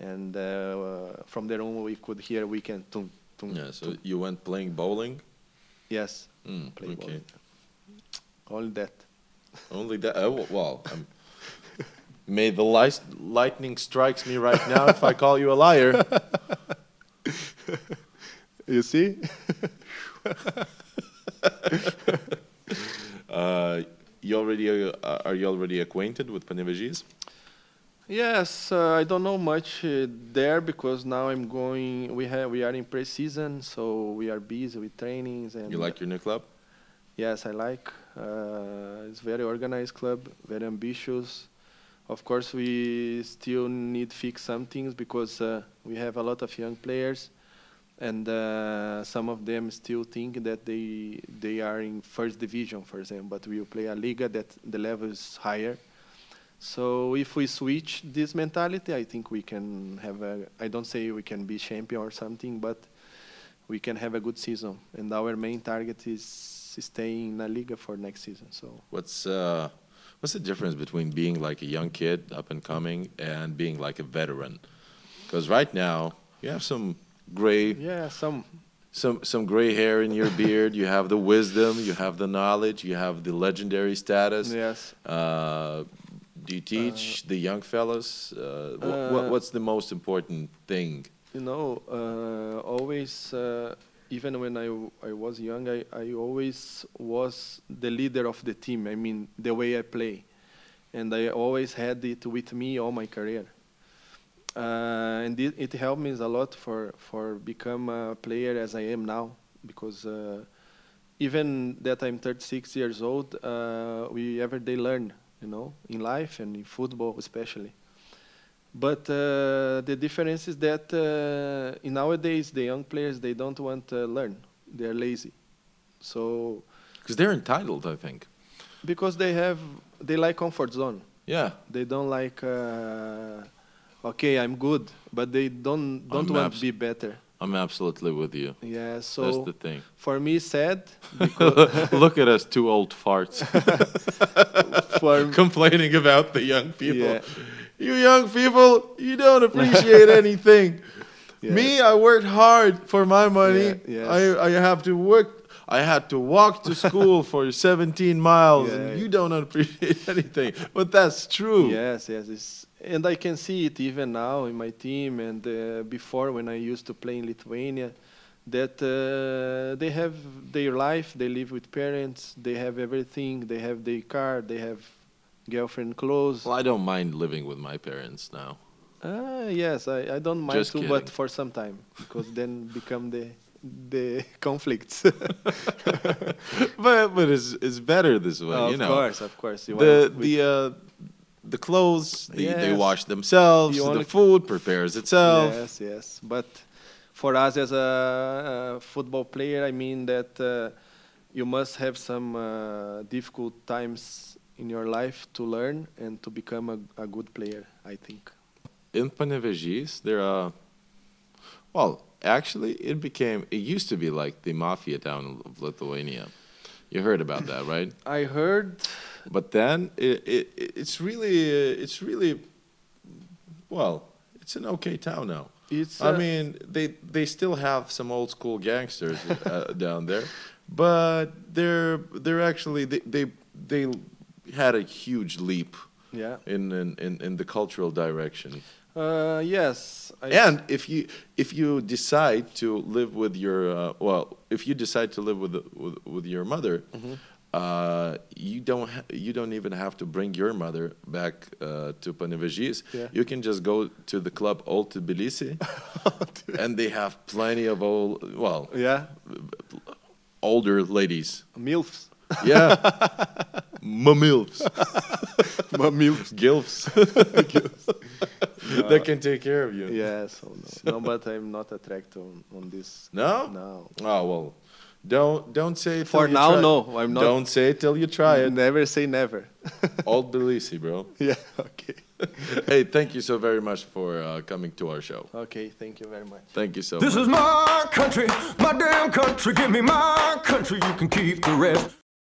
Speaker 3: and uh, from the room we could hear weekend tum tum.
Speaker 2: Yeah, so you went playing bowling.
Speaker 3: Yes,
Speaker 2: Mm,
Speaker 3: play
Speaker 2: okay.
Speaker 3: ball. all that.
Speaker 2: Only that. Oh, well, i may the light, lightning strikes me right now if I call you a liar.
Speaker 3: You see?
Speaker 2: Uh, you already uh, are you already acquainted with Panevėžys?
Speaker 3: Yes, uh, I don't know much uh, there because now I'm going. We have we are in pre-season, so we are busy with trainings and.
Speaker 2: You like your new club?
Speaker 3: Yes, I like. Uh, it's very organized club, very ambitious. Of course, we still need fix some things because uh, we have a lot of young players, and uh, some of them still think that they they are in first division, for example. But we will play a liga that the level is higher. So if we switch this mentality, I think we can have a. I don't say we can be champion or something, but we can have a good season. And our main target is staying in La Liga for next season. So
Speaker 2: What's uh, what's the difference between being like a young kid up and coming and being like a veteran? Because right now you have some gray
Speaker 3: yeah, some
Speaker 2: some some gray hair in your beard. You have the wisdom. You have the knowledge. You have the legendary status.
Speaker 3: yes.
Speaker 2: Uh, do you teach the young fellas? Uh, wh-
Speaker 3: Uh,
Speaker 2: wh- what's the most important thing?
Speaker 3: You know, uh, always uh, even when I, w- I was young, I, I always was the leader of the team. I mean, the way I play, and I always had it with me all my career. Uh, and it, it helped me a lot for for become a player as I am now because. Uh, even that I'm 36 years old, uh, we every day learn, you know, in life and in football especially. But uh, the difference is that uh, in nowadays the young players they don't want to learn; they're lazy. So
Speaker 2: Because they're entitled, I think.
Speaker 3: because they have they like comfort zone,
Speaker 2: Yeah.
Speaker 3: they don't like uh, okay I'm good, but they don't don't want
Speaker 2: abs-
Speaker 3: to be better.
Speaker 2: I'm absolutely with you.
Speaker 3: Yeah.
Speaker 2: That's
Speaker 3: So
Speaker 2: the thing.
Speaker 3: for me sad.
Speaker 2: Look at us, two old farts,
Speaker 3: For
Speaker 2: complaining about the young people.
Speaker 3: Yeah.
Speaker 2: You young people, you don't appreciate anything.
Speaker 3: Yeah.
Speaker 2: Me, I worked hard for my money.
Speaker 3: Yeah, yes.
Speaker 2: I, I have to work. I had to walk to school for 17 miles,
Speaker 3: Yeah.
Speaker 2: and you don't appreciate anything. But that's true.
Speaker 3: Yes, yes. It's, and I can see it even now in my team and uh, before when I used to play in Lithuania that uh, they have their life, they live with parents, they have everything, they have their car, they have girlfriend clothes.
Speaker 2: Well, I don't mind living with my parents now.
Speaker 3: Ah, yes, I, I don't mind
Speaker 2: Just
Speaker 3: too,
Speaker 2: kidding.
Speaker 3: but for some time because then become the the conflicts.
Speaker 2: But but it's it's better this way, you
Speaker 3: Oh, of
Speaker 2: know.
Speaker 3: course, of course. You
Speaker 2: the
Speaker 3: wanna- we-
Speaker 2: the uh, the clothes they, they
Speaker 3: Yes.
Speaker 2: wash themselves.
Speaker 3: You
Speaker 2: The
Speaker 3: wanna-
Speaker 2: food prepares itself.
Speaker 3: Yes, yes. But for us as a, uh football player, I mean that uh, you must have some uh, difficult times in your life to learn and to become a, a good player, I think.
Speaker 2: In Panevėžys, there are well, actually, it became it used to be like the mafia town of Lithuania. You heard about that, right?
Speaker 3: I heard,
Speaker 2: But then it, it it's really uh, it's really well, it's an okay town now.
Speaker 3: It's,
Speaker 2: I
Speaker 3: uh,
Speaker 2: mean, they they still have some old school gangsters uh, down there, but they're they're actually they they, they had a huge leap
Speaker 3: yeah.
Speaker 2: in in, in, in the cultural direction.
Speaker 3: Uh, yes. I
Speaker 2: And if you if you decide to live with your uh, well, if you decide to live with with, with your mother,
Speaker 3: Mm-hmm.
Speaker 2: uh, you don't ha- you don't even have to bring your mother back uh, to Panevėžys.
Speaker 3: Yeah.
Speaker 2: You can just go to the club Old Tbilisi, and they have plenty of old well
Speaker 3: Yeah.
Speaker 2: older ladies.
Speaker 3: MILFs.
Speaker 2: Yeah, mamilfs,
Speaker 3: MILFs.
Speaker 2: gilfs, that can take care of you.
Speaker 3: Yes. Oh no. no, but I'm not attracted on, on this.
Speaker 2: No?
Speaker 3: No.
Speaker 2: Oh well, Don't don't say it till
Speaker 3: For
Speaker 2: you
Speaker 3: now,
Speaker 2: try.
Speaker 3: no, I'm not-
Speaker 2: Don't say it till you try it.
Speaker 3: Never say never.
Speaker 2: Old Belize, bro.
Speaker 3: yeah. Okay.
Speaker 2: hey, thank you so very much for uh, coming to our show.
Speaker 3: Okay. Thank you very much.
Speaker 2: Thank you so much.
Speaker 1: This is my country, my damn country. Give me my country, you can keep the rest.